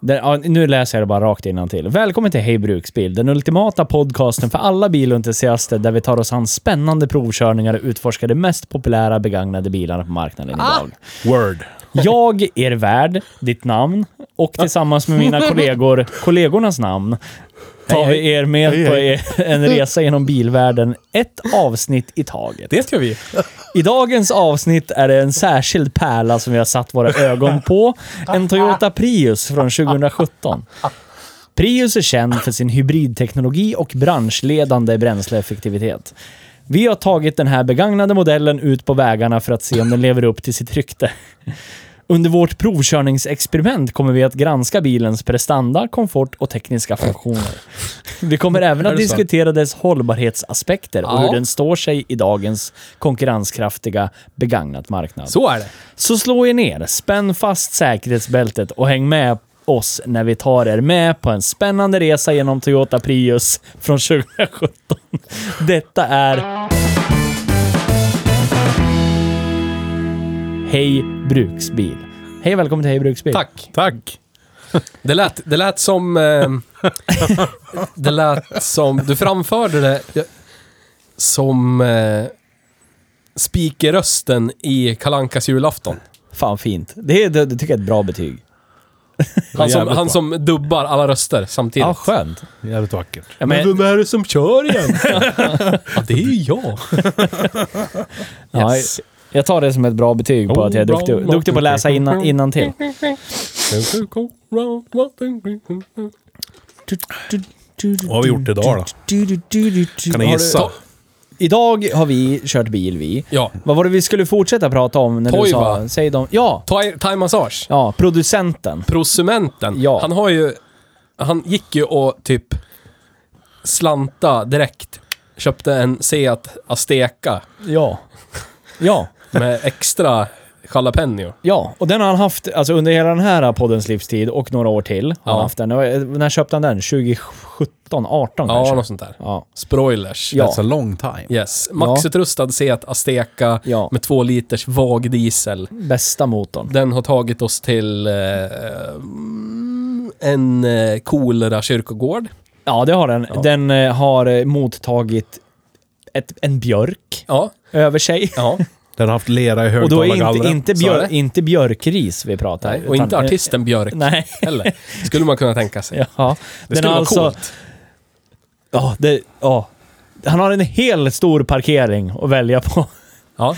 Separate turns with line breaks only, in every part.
Den, ja, nu läser jag det bara rakt till. Välkommen till Hej Bruksbil, den ultimata podcasten för alla bilentusiaster där vi tar oss an spännande provkörningar och utforskar de mest populära begagnade bilarna på marknaden idag.
Word.
Jag, er värd, ditt namn och tillsammans med mina kollegor, kollegornas namn, tar vi er med på e- en resa genom bilvärlden, ett avsnitt i taget.
Det ska vi.
I dagens avsnitt är det en särskild pärla som vi har satt våra ögon på. En Toyota Prius från 2017. Prius är känd för sin hybridteknologi och branschledande bränsleeffektivitet. Vi har tagit den här begagnade modellen ut på vägarna för att se om den lever upp till sitt rykte. Under vårt provkörningsexperiment kommer vi att granska bilens prestanda, komfort och tekniska funktioner. Vi kommer även att
det sant?
diskutera dess hållbarhetsaspekter och hur den står sig i dagens konkurrenskraftiga begagnat marknad.
Så är det.
Så slå er ner, spänn fast säkerhetsbältet och häng med oss när vi tar er med på en spännande resa genom Toyota Prius från 2017. Detta är... Hej Bruksbil. Hej välkommen till Hej Bruksbil.
Tack.
Tack.
Det lät, det lät som... ehm, det lät som... Du framförde det ja, som eh, spikerrösten i Kalankas julafton.
Fan fint. Det, är, det, det tycker jag är ett bra betyg.
Han som,
jävligt
han
bra.
som dubbar alla röster samtidigt.
Ja, skönt.
Jävligt vackert.
Ja, men,
Ah, vem är det som kör igen? ja, det är ju jag.
ja,
Yes.
jag tar det som ett bra betyg på
Oh,
att jag är
bra,
duktig,
bra.
duktig på att läsa innan, innan till.
Vad har vi gjort idag då? Kan ni
Har du-
gissa?
Idag har vi kört bil vi.
Ja.
Vad var det vi skulle fortsätta prata om när du
Toy,
sa...
va?
Säg dem. Ja!
Thai- Thai-massage.
Ja, producenten.
prosumenten.
Ja.
Han har ju... Han gick ju och typ slanta direkt. Köpte en Seat Asteca
Ja. Ja.
med extra jalapeno.
Ja, och den har han haft alltså, under hela den här poddens livstid och några år till. Har han
Ja.
haft den. Det var- När köpte han den? 2017, 18
Ja,
kanske?
något sånt där.
Ja.
Sproilers.
Ja.
That's a long time.
Yes. Maxutrustad Seat Asteca
Ja.
med två liters vag diesel.
Bästa motorn.
Den har tagit oss till eh, mm, en eh, coolare kyrkogård.
Ja, det har den. Den eh, har eh, mottagit ett, en björk
Ja.
över sig.
ja.
Den har haft lera i
Och då är inte,
högtalargallren.
inte,
Så är
björ,
det.
inte björkris vi pratar.
Nej. Och
utan-
inte artisten Björk
Nej.
heller. Skulle man kunna tänka sig.
Ja.
Det skulle vara
alltså-
coolt.
Ja, det... Ja. Han har en hel stor parkering att välja på.
Ja.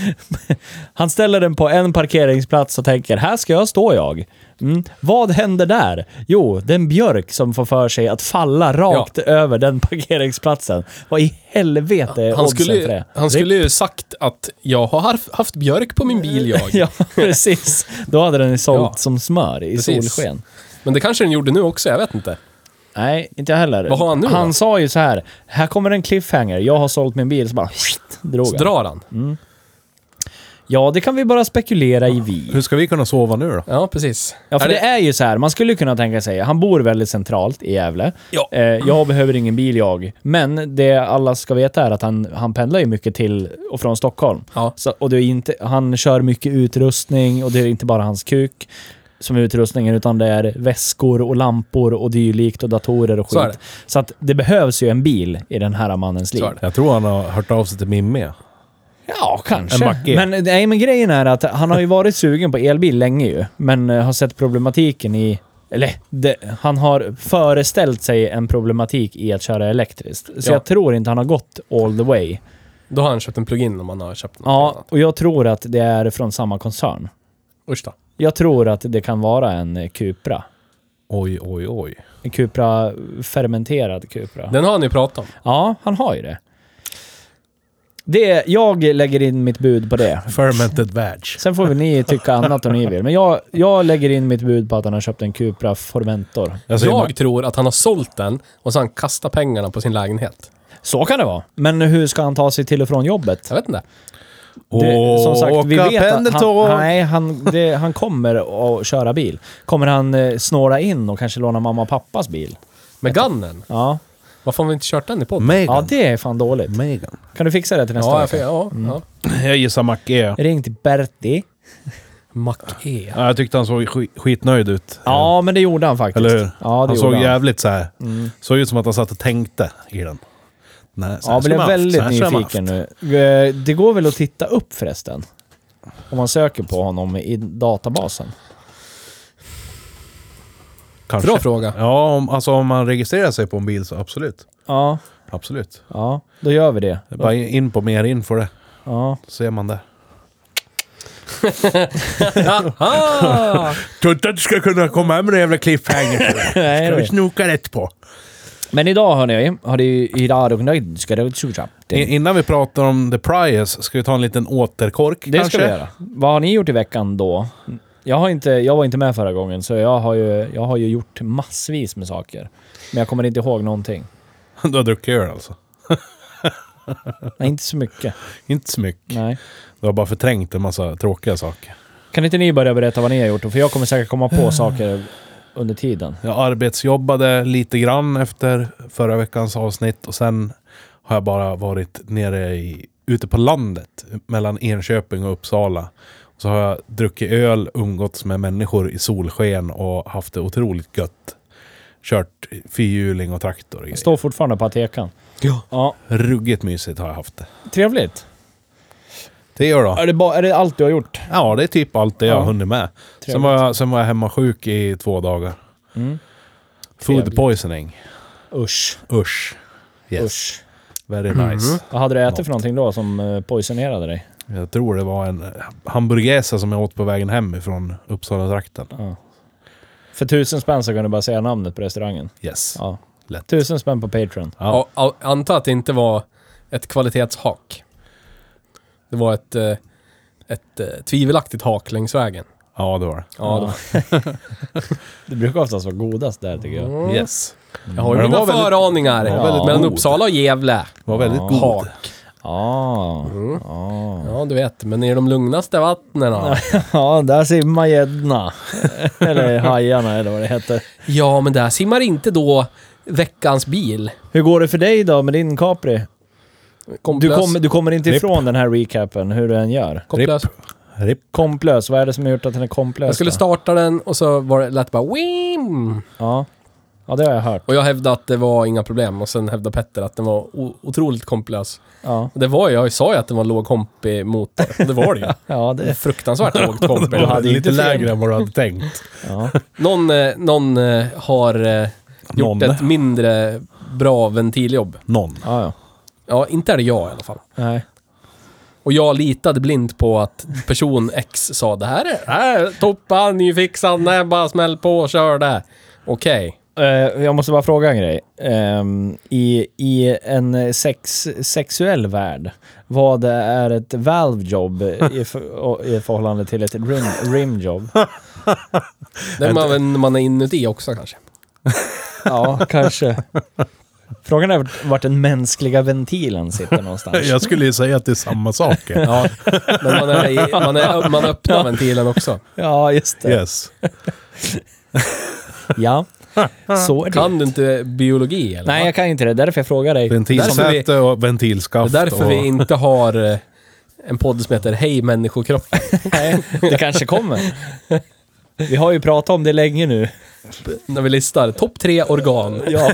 Han ställer den på en parkeringsplats och tänker, här ska jag stå jag. Mm. Vad händer där? Jo, det är en björk som får för sig att falla rakt över den parkeringsplatsen. Vad i helvete är
Han
oddsen
skulle,
för
ju-
det?
han skulle ju sagt att jag har harf- haft björk på min bil jag.
Ja, precis. Då hade den ju sålt
Ja.
som smör i
Precis.
solsken.
Men det kanske den gjorde nu också, jag vet inte.
Nej, inte jag heller.
Vad har han nu då?
Han sa ju så här, här kommer en cliffhanger, jag har sålt min bil. Så bara, drog
Så
han.
drar han.
Mm. Ja, det kan vi bara spekulera i vi.
Hur ska vi kunna sova nu då?
Ja, precis.
Ja, för
Är
det... är ju så här. Man skulle kunna tänka sig, han bor väldigt centralt i Gävle.
Ja.
Eh, jag behöver ingen bil jag. Men det alla ska veta är att han, han pendlar ju mycket till och från Stockholm.
Ja.
Så, och det är inte, han kör mycket utrustning och det är inte bara hans kuk som är utrustningen, utan det är väskor och lampor och dylikt och datorer och skit.
Så är det.
Så att det behövs ju en bil i den här mannens liv.
Så är det.
Jag tror han har hört av sig till Mimmi.
Ja, kanske.
En macke.
Men, nej, men grejen är att han har ju varit sugen på elbil länge ju, men eh, har sett problematiken i... Eller, det, han har föreställt sig en problematik i att köra elektriskt. Så
Ja.
jag tror inte han har gått all the way.
Då har han köpt en plug-in om han har köpt något
Ja,
annat.
och jag tror att det är från samma koncern.
Usch då.
Jag tror att det kan vara en eh, Cupra.
Oj, oj, oj.
En Cupra, fermenterad Cupra.
Den har ni pratat om.
Ja, han har ju det. det. Jag lägger in mitt bud på det.
Fermented badge.
Sen får väl ni tycka annat om ni vill. Men jag, jag lägger in mitt bud på att han har köpt en Cupra Formentor.
Jag säger,
Jag tror att han har sålt den och sen kastat pengarna på sin lägenhet.
Så kan det vara. Men hur ska han ta sig till och från jobbet?
Jag vet inte.
Det, som sagt, vi
åka
vet att
pendeltåg.
han, nej, han, det, han kommer att köra bil. Kommer han eh, snåra in och kanske låna mamma och pappas bil?
Med gunnen.
Ja,
Varför har vi inte kört den i podden?
ja
Megan.
det är fan dåligt.
Megan.
Kan du fixa det till nästa
Ja, jag,
vecka?
ja, ja.
Jag gissar Mac-E.
Ring till Berti.
Mac-E.
Ja, jag tyckte han såg sk- skitnöjd ut.
Ja, men det gjorde han faktiskt.
Eller hur?
Ja, det
han
gjorde
såg
han.
jävligt så här.
Mm.
Såg ut som att han satt och tänkte i den. Nej, så här
Ja,
ska
blev
man
jag
haft, så
väldigt
här ska man
nyfiken
haft.
nu. Eh, Det går väl att titta upp förresten? Om man söker på honom i databasen.
Kanske.
Bra fråga.
Ja, om, alltså om man registrerar sig på en bil så absolut.
Ja,
Absolut.
ja, då gör vi det.
Det är Bara in- in på mer info det.
Ja.
Så ser man det.
Ah!
Tror inte att du ska kunna komma hem med en jävla cliffhanger.
Nej, nej.
snoka rätt på.
Men idag hörni, har det ju idag och nöjd ska det tjosa.
In,
Det
innan vi pratar om The Prius, ska vi ta en liten återkork
det
kanske?
ska vi göra. Vad har ni gjort i veckan då? Jag, har inte, jag var inte med förra gången, så jag har, ju, jag har ju gjort massvis med saker. Men jag kommer inte ihåg någonting.
Du har druckit öl alltså?
Nej, inte så mycket.
Inte så mycket.
Nej.
Du har bara förträngt en massa tråkiga saker.
Kan inte ni börja berätta vad ni har gjort? då? För jag kommer säkert komma på saker under tiden.
Jag arbetsjobbade lite grann efter förra veckans avsnitt och sen har jag bara varit nere i, ute på landet mellan Enköping och Uppsala. Så har jag druckit öl, umgåtts med människor i solsken och haft det otroligt gött. Kört fyrhjuling och traktor och
Jag
grejer.
står fortfarande på Atekan.
Ja.
ja.
Ruggigt mysigt har jag haft det.
Trevligt.
Det gör då.
Är det, ba, är det allt du har gjort?
Ja, det är typ allt det jag
Ja.
har hunnit med. Sen
Trevligt.
var, jag, sen var jag hemma sjuk i två dagar.
Mm.
Food
Trevligt.
poisoning.
Usch.
Usch. Yes.
Usch. Mhm.
Very nice.
Vad hade du ätit
Något.
för någonting då som eh, poisonerade dig?
Jag tror det var en eh, hamburgesa som jag åt på vägen hem ifrån Uppsala-trakten.
Ja. För tusen spänn så kan du bara säga namnet på restaurangen.
Yes.
Ja.
Lätt.
Tusen spänn på Patreon.
Ja.
Och- och Anta att det inte var ett kvalitetshak. Det var ett, eh, ett eh, tvivelaktigt hak längs vägen.
Ja, det var det.
Ja,
Ja. Det brukar oftast vara godast där tycker jag.
Mm.
Yes.
Jag har ju
Men den
mina
var väldigt-
föraningar
den
var väldigt
mellan
god.
Uppsala och Gävle.
Det var väldigt
Ja.
god.
Hak.
Ah.
Mm.
Ah.
Ja, du vet. Men i de lugnaste vattnen.
Ja, där simmar gäddorna. eller hajarna eller vad det heter.
Ja, men där simmar inte då veckans bil.
Hur går det för dig då med din Capri? Du
Komplös.
kommer, du kommer inte
Ripp.
ifrån den här recapen hur du än gör.
Komplös.
Ripp.
Komplös, vad är det som har gjort att den är komplös?
Jag skulle
då?
starta den och så var det, lät det bara Wim!
Ja. ja, det har jag hört.
Och jag hävdade att det var inga problem och sen hävdade Petter att den var o- otroligt komplös.
Ja,
Och Det var ju, jag sa ju att den var låg kompi motor. Och Det var det ju.
ja det...
Fruktansvärt lågt kompi.
Det var
hade
lite
inte fel.
lägre än vad du hade tänkt.
Ja.
Någon, eh, någon eh, har eh, gjort
Någon.
ett mindre bra ventiljobb.
Någon.
Ja, ja.
Ja, inte är det jag i alla fall.
Nej.
Och jag litade blint på att person X sa det här är, det här är toppa, nyfixad, nej bara smäll på och kör det. Okej.
Eh, jag måste bara fråga en grej. Ehm, i, I en sex, sexuell värld, vad är ett valvejob i, för- och- i förhållande till ett rim, rimjob?
Det är man, man är inuti också kanske.
Ja, kanske. Frågan är vart den mänskliga ventilen sitter någonstans.
Jag skulle ju säga att det är samma sak.
Ja, men man, är, i- man, är, man öppnar ventilen också.
Ja, just det.
Yes.
Ja, så är det.
Kan du inte biologi eller?
Nej, jag kan inte det. Därför jag frågar dig.
Därför vi-
Ventilsäte och
det är
ventilskaft.
därför
och...
vi inte har eh, en podd som heter Hej människokroppen.
Nej, det kanske kommer. Vi har ju pratat om det länge nu.
När vi listar topp tre organ.
Ja.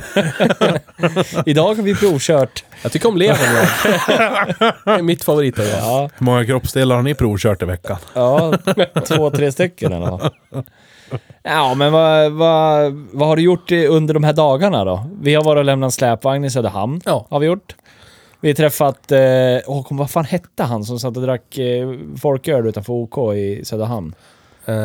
Idag har vi provkört.
Jag tycker om levern jag. Det är mitt favoritorgan.
Ja,
Hur många kroppsdelar har ni provkört i veckan?
ja två, tre stycken eller vad? Ja, men vad, vad, vad har du gjort eh, under de här dagarna då? Vi har varit och lämnat en släpvagn i Söderhamn.
Ja.
Har vi gjort. Vi har träffat, eh, åh, kom, vad fan hette han som satt och drack eh, folköl utanför OK i Söderhamn?
Eh,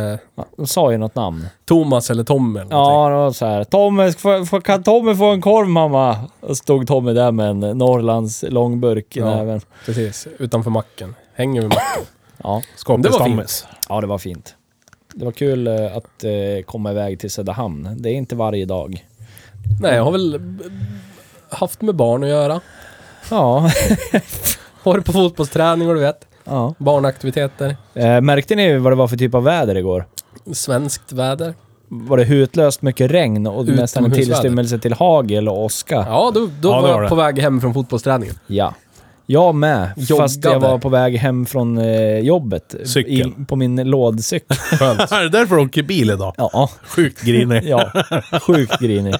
De sa ju något namn.
Thomas eller Tom eller någonting.
Ja, det var så här. Tommy, ska- får- kan Tommy få en korv mamma? Och stod Tommy där med en Norrlands långburk i
Ja.
näven.
Precis, utanför macken. Hänger vid macken.
Ja.
Skaplig
Det var
stammis.
ja, det var fint. Det var kul eh, att eh, komma iväg till Söderhamn. Det är inte varje dag.
Nej, jag har väl b- b- haft med barn att göra.
Ja.
Varit på fotbollsträning och du vet.
ja.
Barnaktiviteter.
Eh, märkte ni vad det var för typ av väder igår?
Svenskt väder.
Var det hutlöst mycket regn och nästan en
Utomhusväder.
tillstymmelse till hagel och åska?
Ja, då, då
Ja, det
var
var
jag
det.
på väg hem från fotbollsträningen.
Ja. Jag med, fast jag
Joggade.
var på väg hem från eh, jobbet.
Cykel.
I, på min lådcykel.
Det är därför du åker bil idag.
Ja,
Sjukt grinig.
ja. Sjukt grinig.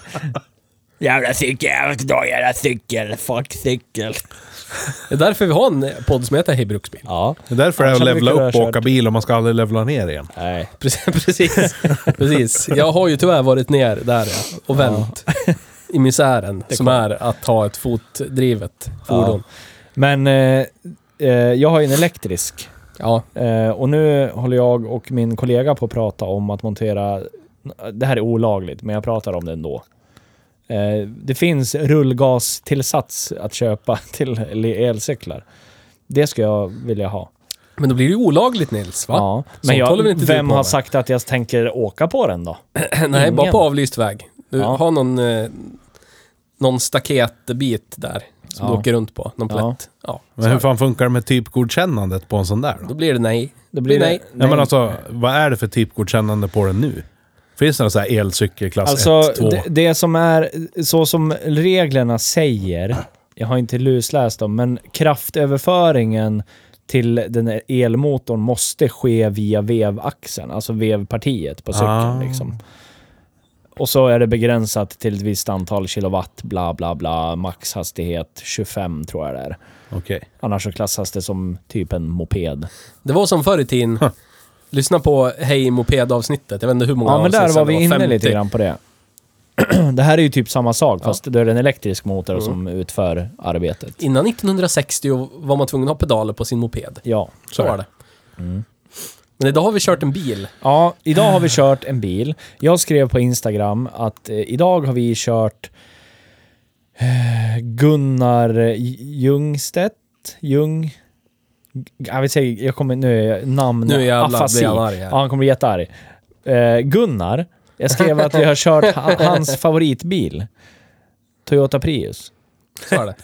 Jävla cykel, jag ska dra jävla cykel. Fuck cykel.
Det är därför vi har en podd som heter Hej Bruksbil.
Ja.
Det är därför det är att
Kanske
levla
mycket
upp
rörkört.
och åka bil och man ska aldrig levla ner igen.
Nej.
Precis, precis. precis. Jag har ju tyvärr varit ner där ja, och vänt i misären som är att ha ett fotdrivet fordon.
Men eh, eh, jag har ju en elektrisk.
Ja,
Eh, och nu håller jag och min kollega på att prata om att montera... Det här är olagligt, men jag pratar om det ändå. Eh, det finns rullgastillsats att köpa till el- elcyklar. Det ska jag vilja ha.
men då blir det ju olagligt Nils, va?
Ja. Men
Sånt
jag,
håller väl inte du
vem
på
har
med?
sagt att jag tänker åka på den då?
Nej, bara
Ingen.
på avlyst väg. Du
Ja.
har någon, eh, någon staketbit där som
Ja.
du åker runt på, någon
Ja.
plätt. Ja. så
Men
är
hur
det.
fan funkar det med typgodkännandet på en sån där då?
Då blir det nej.
Då blir det-
nej.
Nej men alltså, vad är det för typgodkännande på den nu? Finns det någon sån här elcykel klass
Alltså,
1, 2?
det, det som är så som reglerna säger, jag har inte lusläst dem, men kraftöverföringen till den här elmotorn måste ske via vevaxeln, alltså vevpartiet på cykeln.
Ah.
Liksom. Och så är det begränsat till ett visst antal kilowatt, bla bla bla, maxhastighet 25 tror jag det är.
Okej.
Annars så klassas det som typ en moped.
Det var som förr i tiden. Lyssna på Hej Moped-avsnittet. Jag vet inte hur många
Ja, men
avsnitt
där
sen
var
det
vi inne
50.
lite grann på det. Det här är ju typ samma sak, fast då är det en elektrisk motor
Mm.
som utför arbetet.
Innan 1960 var man tvungen att ha pedaler på sin moped.
Ja. Mm.
Så var det. Men idag har vi kört en bil.
ja, idag har vi kört en bil. Jag skrev på Instagram att eh, idag har vi kört eh, Gunnar Ljungstedt. Ljung... Jag, vill säga, jag kommer... Nu är jag namn...
Nu jävlar blir
afasi.
han arg här.
Ja, han kommer bli jättearg. Eh, Gunnar. Jag skrev att vi har kört ha- hans favoritbil. Toyota Prius.
Så är det.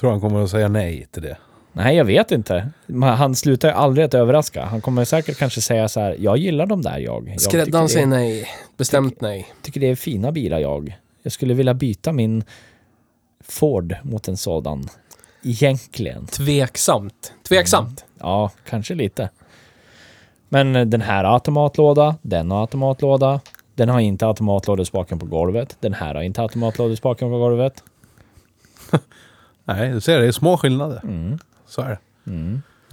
Tror han kommer att säga nej till det.
Nej, jag vet inte. Men Han slutar ju aldrig att överraska. Han kommer säkert kanske säga så här, jag gillar de där jag. jag tycker
Skräddaren
det-
säger nej. Bestämt nej.
tycker det är fina bilar jag. Jag skulle vilja byta min Ford mot en sådan. Egentligen.
Tveksamt. Tveksamt.
Ja, kanske lite. Men den här har automatlåda, den har automatlåda. Den har inte automatlådespaken på golvet. Den här har inte automatlådespaken på golvet.
Nej, du ser, det är små skillnader.
Mm.
Så är det.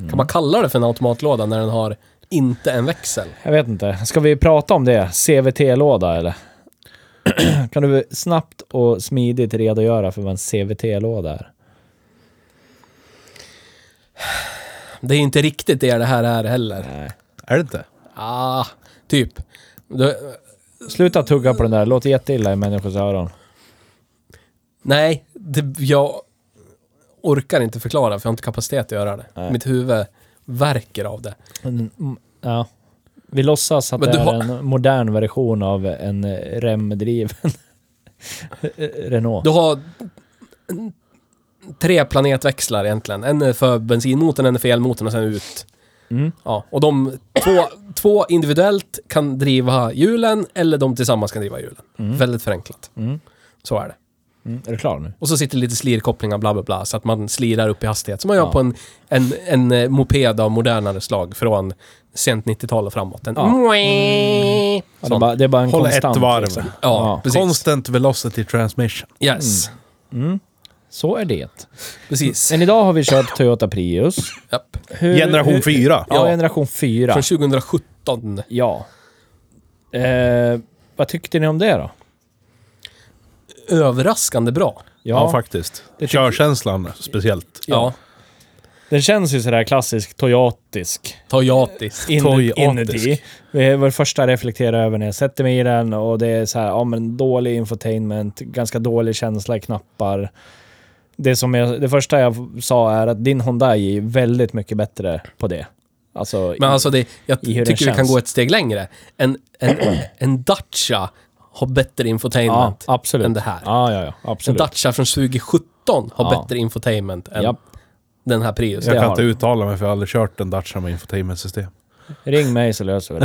Kan man kalla det för en automatlåda när den har inte en växel?
Jag vet inte. Ska vi prata om det? CVT-låda eller? kan du snabbt och smidigt redogöra för vad en CVT-låda är?
Det är ju inte riktigt det det här är heller.
Är det inte?
Ah, typ. Du,
Sluta tugga på den där. Det Låter jätteilla i människors öron.
nej, det, jag orkar inte förklara för jag har inte kapacitet att göra det. Mitt huvud verkar av det.
Mm, mm, Ja. Vi låtsas att
Men
det
du
är
har-
en modern version av en eh, remdriven Renault.
Du har en- tre planetväxlar egentligen. En är för bensinmotorn, en är för elmotorn och sen ut.
Mm.
Ja, och de två, två individuellt kan driva hjulen eller de tillsammans kan driva hjulen. Väldigt förenklat.
Mm.
Så är det.
Mm, är du klar nu?
Och så sitter lite slirkopplingar, bla bla bla, så att man slirar upp i hastighet. Som man gör
Ja.
på en, en, en eh, moped av modernare slag från sent 90-tal och framåt. En
Ja. Mm. Ja, det, är
Sån.
bara, det är bara en
Håll ett
konstant.
varv.
liksom.
Ja,
Ja, precis.
Constant velocity transmission.
Yes,
Mm. Så är det.
precis.
Men idag har vi kört Toyota Prius.
Japp.
Hur-
Generation
hur-
4.
Ja,
Ja.
generation 4.
Från 2017.
Ja. Eh, vad tyckte ni om det då?
Överraskande bra.
Ja, faktiskt.
tycker-
Körkänslan speciellt.
Ja.
Den känns ju sådär klassisk toyotisk
Toyotis.
in,
Toyotisk.
inuti. Det var det första jag replekterade över när jag sätter mig i den och det är så här, ja men dålig infotainment, ganska dålig känsla i knappar. Det, som jag, det första jag sa är att din Hyundai är väldigt mycket bättre på det. Alltså,
Men alltså, det, jag
I hur den
tycker vi kan
känns.
gå ett steg längre. En, en, en Dacia har bättre
ja,
infotainment.
absolut.
än det här.
Ja, ja, ja,
en
absolut.
Dacia från 2017 har
Ja.
bättre infotainment än
Japp.
den här Prius.
Jag
det
kan
har
inte
du.
uttala mig för jag har aldrig kört en Dacia med infotainmentsystem.
Ring mig så löser vi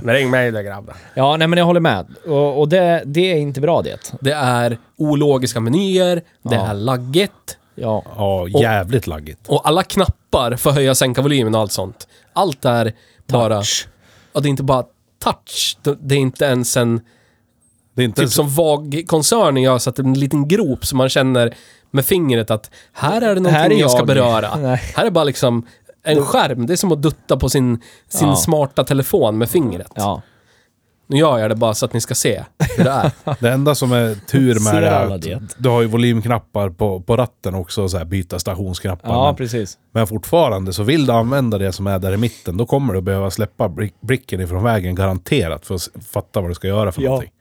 det.
Ring mig då grabben.
Ja, nej men jag håller med. Och, och det, det är inte bra det.
Det är ologiska menyer, det
Ja.
är laggigt
Ja.
Ja, jävligt laggigt.
och alla knappar för höja och sänka volymen och allt sånt. Allt är bara... Ja, det är inte bara touch. Det- Det är inte ens en...
Det är inte
Typ
typ
som VAG-koncernen gör så att det är en liten grop som man känner med fingret att här är det någonting
Här är
jag. ska
jag.
beröra.
Nej.
Här är bara liksom en skärm. Det är som att dutta på sin, sin
Ja.
smarta telefon med fingret.
ja.
Nu gör jag det bara så att ni ska se hur det är.
Det enda som är tur
Ser
med det är
alla det?
att du har ju volymknappar på, på ratten också, och så här byta stationsknappar.
Ja,
men,
precis.
men fortfarande, så vill du använda det som är där i mitten, då kommer du behöva släppa brick- bricken ifrån vägen garanterat för att s- fatta vad du ska göra för
Ja.
någonting.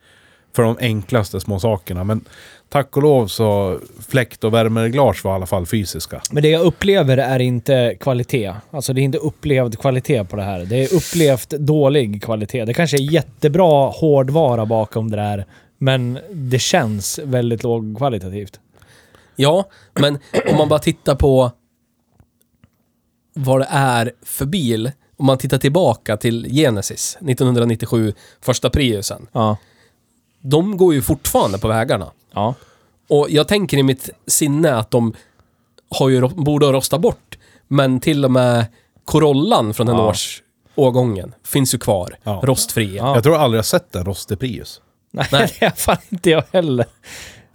För de enklaste små sakerna. Men tack och lov så fläkt och värmereglage var i alla fall fysiska.
Men det jag upplever är inte kvalitet. Alltså det är inte upplevd kvalitet på det här. Det är upplevt dålig kvalitet. Det kanske är jättebra hårdvara bakom det där, men det känns väldigt lågkvalitativt.
Ja, men om man bara tittar på vad det är för bil. Om man tittar tillbaka till Genesis 1997, första Priusen.
Ja.
De går ju fortfarande på vägarna.
Ja.
Och jag tänker i mitt sinne att de har ju, ro- borde ha rostat bort. Men till och med Corollan från den
Ja.
års årgången finns ju kvar.
Ja.
Rostfri.
Ja.
Jag tror aldrig jag sett en rostig Prius,
Nej,
Nej.
det är fan inte jag heller.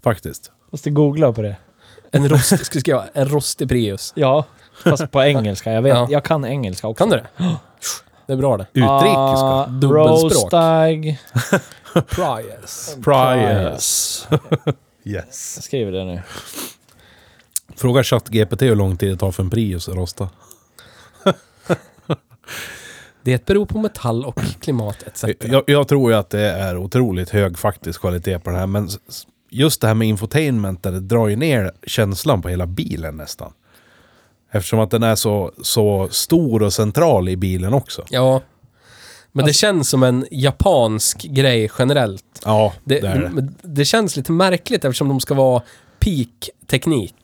faktiskt.
Måste googla på det.
En, rost, ska jag, en rostig Prius.
Ja, fast på engelska. Jag vet,
Ja.
jag kan engelska också.
Kan du det? Det är bra det.
Utrikiska.
Ah,
Dubbelspråk.
Roastag.
Prius.
Prius. yes.
Jag skriver det nu.
Fråga ChatGPT hur lång tid det tar för en Prius att rosta.
Det beror på metall och klimat etc.
Jag, jag tror ju att det är otroligt hög faktisk kvalitet på den här, men s- s- just det här med infotainment, där det drar ju ner känslan på hela bilen nästan. Eftersom att den är så, så stor och central i bilen också.
Ja. Men det känns som en japansk grej generellt.
Ja,
Det,
det, mm, är det.
men det känns lite märkligt eftersom de ska vara peak-teknik,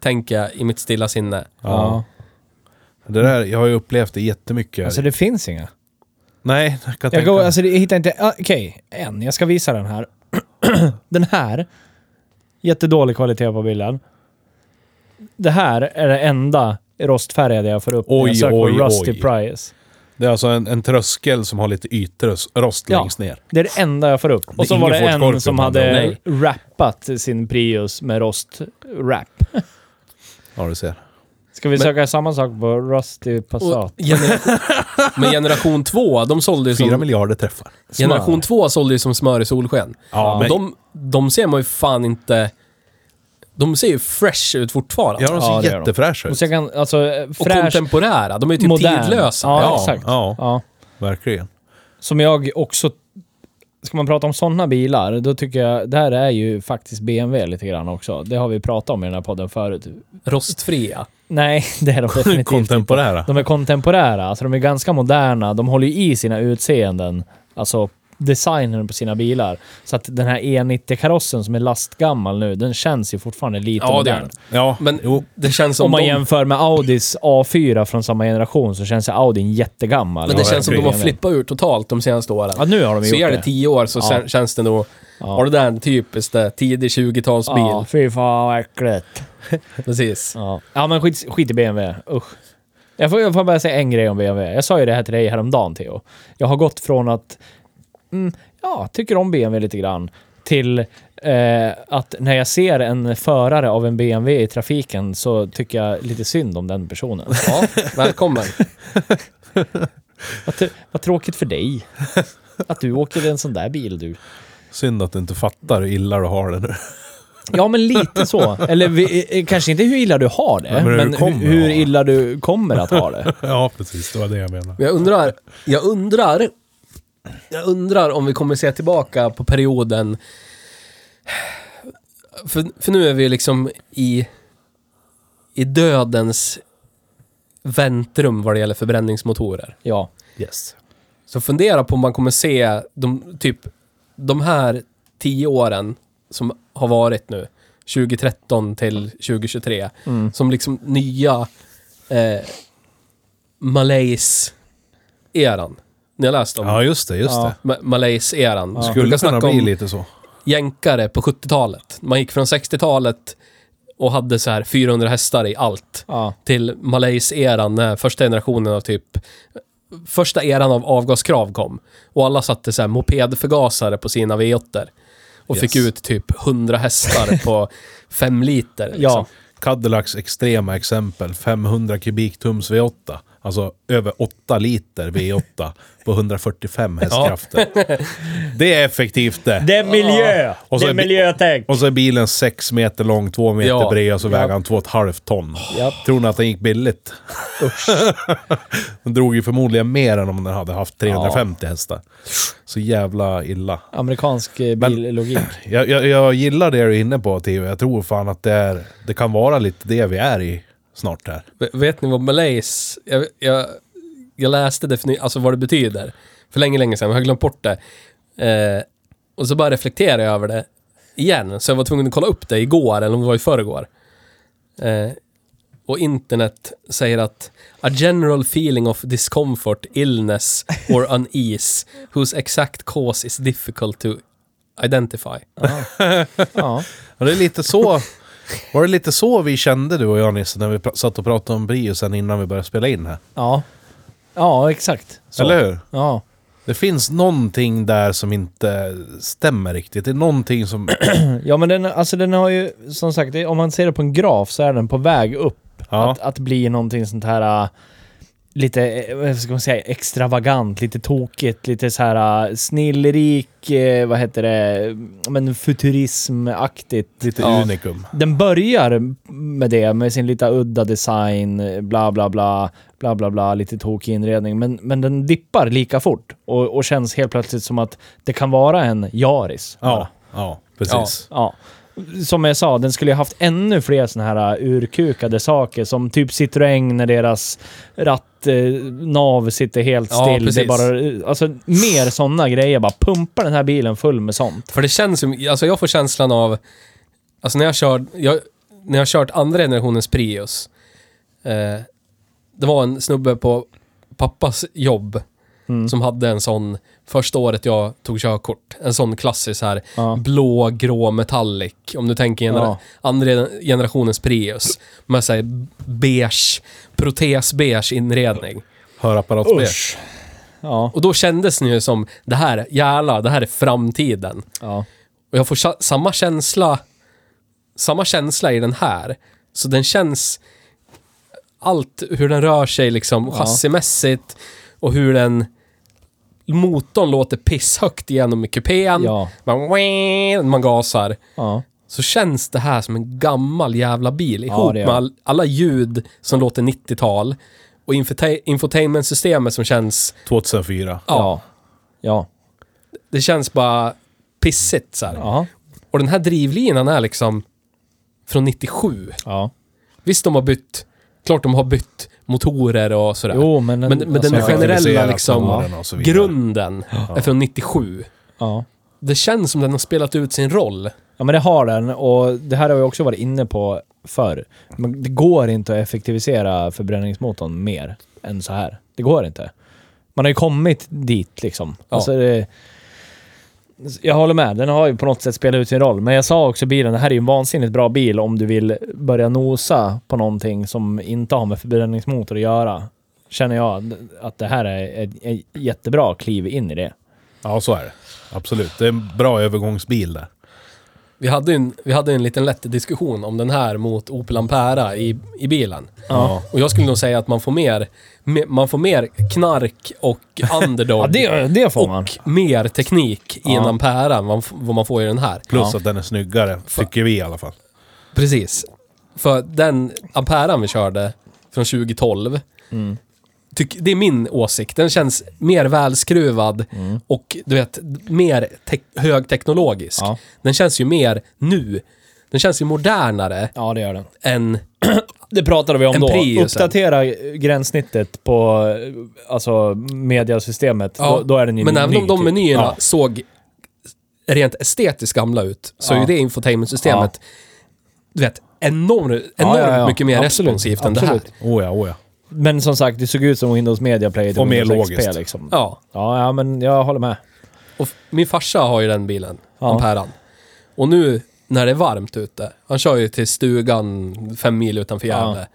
tänker jag i mitt stilla sinne.
Ja.
det där, jag har ju upplevt det jättemycket.
Alltså det finns inga.
Nej, jag kan
Jag
tänka
går,
mig.
alltså jag hittar inte... ah, Okej, en. Jag ska visa den här. den här. Jättedålig kvalitet på bilden. Det här är det enda rostfärgade jag får upp när jag
Oj,
söker på
oj,
Rusty
oj.
Price.
Det är alltså en, en tröskel som har lite ytrost
Ja.
längst ner.
Det är det enda jag får upp.
Det är
Och så var det
ingen Ford Scorpion
en som
med andra
hade
ord.
rappat sin Prius med rost-rap.
Ja, du ser.
Ska vi söka samma sak på Rusty Passat?
Och genera- men generation 2, de sålde ju
Fyra
som...
miljarder träffar.
Generation 2 sålde ju som smör i solsken.
Ja,
Och de, de ser man ju fan inte... De ser ju fresh ut fortfarande.
Ja, de ser
Ja, det gör de.
jättefräscha
Och
ut.
så jag kan, alltså,
och
fräsch,
kontemporära. De är ju typ
modern.
tidlösa.
Ja,
Ja,
exakt.
ja.
Ja.
Verkligen.
Som jag också... Ska man prata om sådana bilar, då tycker jag... Det här är ju faktiskt BMW lite grann också. Det har vi pratat om i den här podden förut.
Rostfria.
Nej, det är de definitivt inte.
Kontemporära.
De är kontemporära, alltså de är ganska moderna. De håller ju i sina utseenden, alltså designen på sina bilar. Så att den här E90-karossen som är lastgammal nu, den känns ju fortfarande lite
Ja, det gör
modern.
den.
Ja,
Men
jo.
det känns som
Om man
de,
jämför med Audis A4 från samma generation så känns ju Audin jättegammal.
Men det
Ja,
känns som de har
verkligen.
flippat ur totalt de senaste åren.
Ja, nu har de
så
gjort
är
det.
det tio år så
Ja.
sen, känns det nog...
Ja.
Har det där en typisk där tidig 20-talsbil?
Ja, fy fan vad äckligt.
Precis.
Ja, ja men skit, skit i BMW. Usch. Jag får, jag får bara säga en grej om BMW. Jag sa ju det här till dig häromdagen, Theo. Jag har gått från att mm, ja, tycker om BMW lite grann till eh, att när jag ser en förare av en BMW i trafiken så tycker jag lite synd om den personen.
Ja, välkommen.
Vad, t- vad tråkigt för dig. Att du åker i en sån där bil du.
Synd att du inte fattar hur illa du har det nu.
Ja, men lite så. Eller vi, eh, kanske inte hur illa du har det,
Nej, men hur
men,
du kommer
hur, hur
att ha det.
illa du kommer att ha det.
Ja, precis. Det var det jag menade.
Men Jag undrar, jag undrar, jag undrar om vi kommer se tillbaka på perioden. För, för nu är vi liksom i, i dödens väntrum vad det gäller förbränningsmotorer.
Ja.
Yes.
Så fundera på om man kommer se de, typ, de här tio åren som har varit nu, 2013 till 2023,
Mm.
som liksom nya eh, Malays-eran. Ni har läst om
Ja, just det. Just
Ja.
det.
Ma- Malays-eran. Ja.
Skulle kunna bli lite så.
jänkare på 70-talet. Man gick från 60-talet och hade så här 400 hästar i allt
ja.
till Malays-eran när första generationen av typ första eran av avgaskrav kom och alla satte så här mopedförgasare på sina V8 och fick
Yes.
ut typ 100 hästar på 5 liter. Liksom.
Ja.
Cadillacs extrema exempel. 500 kubiktums V8. Alltså över 8 liter V8 på 145 hästkrafter. Det är effektivt det.
Det är miljö!
Och så
det är
är bi-
miljötänk!
Och så är bilen 6 meter lång, 2 meter
Ja.
bred och så väger han 2,5 ton.
Japp.
Tror ni att den gick billigt? den drog ju förmodligen mer än om den hade haft 350 hästar. Så jävla illa.
Amerikansk eh,
Men-
billogik.
Jag, jag, jag gillar det du är inne på, Theo. Jag tror fan att det, är, det kan vara lite det vi är i snart här.
V- Vet ni vad malaise... Jag, jag, jag läste definitionen, alltså vad det betyder. För länge, länge sedan. Jag har glömt bort det. Eh, och så bara reflekterade jag över det igen. Så jag var tvungen att kolla upp det igår, eller om det var i förrgår. Eh, och internet säger att a general feeling of discomfort, illness or unease whose exact cause is difficult to identify.
Ja.
Och det är lite så... Var det lite så vi kände du och jag Nisse när vi pra- satt och pratade om Priusen innan vi började spela in här?
ja. Ja, exakt. Så.
Eller hur?
Ja.
Det finns någonting där som inte stämmer riktigt. Det är någonting som...
Ja men den, alltså den har ju, som sagt, det- om man ser det på en graf så är den på väg upp.
Ja.
Att, att bli någonting sånt här äh, lite, eh, vad ska man säga, extravagant, lite tokigt, lite så här äh, snillrik, eh, vad heter det, men futurismaktigt.
Lite
Ja.
unikum.
Den börjar med det, med sin lite udda design, eh, bla bla bla, bla bla bla, lite tokig inredning. Men, men den dippar lika fort och, och känns helt plötsligt som att det kan vara en Yaris. bara.
Ja, ja precis.
Ja. Som jag sa, den skulle ju haft ännu fler såna här äh, urkukade saker som typ Citroën när deras rattnav sitter helt
Ja,
still. det är
precis.
bara, alltså mer såna grejer. Bara pumpa den här bilen full med sånt.
För det känns som, alltså jag får känslan av, alltså när jag kör, jag, när jag har kört andra generationens Prius, eh, det var en snubbe på pappas jobb
Mm.
som hade en sån, första året jag tog körkort, en sån klassisk så här
Ja.
blå, grå, metallic, om du tänker gener-
Ja.
andra generationens Prius, med såhär beige, protesbeige inredning.
Hörapparat B.
Ja,
Och då kändes det ju som, det här, jävlar, det här är framtiden.
ja.
Och jag får sa- samma känsla samma känsla i den här. Så den känns allt hur den rör sig liksom chassimässigt och hur den motorn låter pisshögt igenom i kupén.
Ja.
Man, wee- man gasar.
ja.
Så känns det här som en gammal jävla bil ihop
det gör
med all, alla ljud som låter 90-tal och infota- infotainmentsystemet som känns,
2004.
Ja. Ja.
det känns bara pissigt så här.
Ja.
Och den här drivlinan är liksom från 97.
ja.
Visst, de har bytt, klart de har bytt motorer och sådär.
Jo, men den-
men, men
alltså,
den generella
effektiviserat
liksom,
motorerna och så vidare.
grunden är från 97.
ja.
Det känns som den har spelat ut sin roll.
Ja men det har den och det här har vi också varit inne på förr. Men det går inte att effektivisera förbränningsmotorn mer än så här. Det går inte. Man har ju kommit dit liksom.
Ja.
Alltså, det, jag håller med, den har ju på något sätt spelat ut sin roll. Men jag sa också i bilen, det här är ju en vansinnigt bra bil om du vill börja nosa på någonting som inte har med förbränningsmotor att göra. Känner jag att det här är ett, ett jättebra kliv in i det.
Ja, så är det. Absolut. Det är en bra övergångsbil där.
Vi hade, ju en, vi hade en liten lätt diskussion om den här mot Opel Ampera i, i bilen.
Ja.
Och jag skulle nog säga att man får mer, me- man får mer knark och underdog.
Ja, det, det får man.
och mer teknik i en Ampera än vad, f- vad man får i den här.
Plus
Ja.
att den är snyggare, tycker vi i alla fall.
Precis. För den Amperan vi körde från 2012,
Mm.
tyck, det är min åsikt. Den känns mer välskruvad
Mm.
och du vet, mer te- högteknologisk.
Ja.
Den känns ju mer nu. Den känns ju modernare
Ja, det gör den.
än...
Det pratade vi om
En
då.
Prius.
Uppdatera gränssnittet på eh, alltså, mediasystemet. Då, då är den ju
men
ny,
även om de
typ.
menyerna
Ja.
såg rent estetiskt gamla ut, så är ju
Ja.
det infotainmentsystemet, du vet, enormt, enormt
Ja, ja, ja.
mycket mer
Absolut,
responsivt än det
absolut.
här.
Oh ja, oh ja.
Men som sagt, det såg ut som Windows Media Player till
Och mer
Windows XP,
logiskt.
Liksom. Ja.
Ja.
Ja, men jag håller med.
Och f- min farsa har ju den bilen,
Ja.
Amperan. Och nu när det är varmt ute, han kör ju till stugan fem mil utanför Gävle.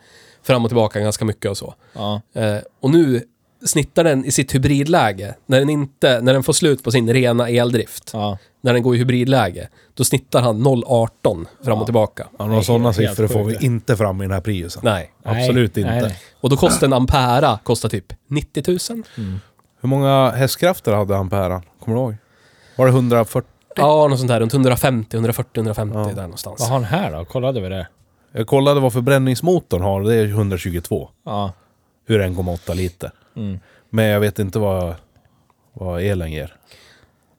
Fram och tillbaka ganska mycket och så.
Ja.
Eh, och nu snittar den i sitt hybridläge. När den, inte, när den får slut på sin rena eldrift,
Ja.
när den går i hybridläge, då snittar han 0,18 fram och tillbaka.
Ja, Några sådana
helt
siffror får
sjukt.
vi inte fram i den här priusen.
Nej.
Absolut
Nej,
inte.
nej.
Och då kostar en Ampera kostar typ 90 000.
Mm. Hur många hästkrafter hade han på häran? Kommer du ihåg? Var det 140?
Ja, något sånt där. Runt 150, 140, 150 där någonstans.
Vad har han här då? Kollade vi det?
Jag kollade vad förbränningsmotorn har och det är 122.
Ja.
Ur 1,8 liter.
Mm.
Men jag vet inte vad, vad elen ger.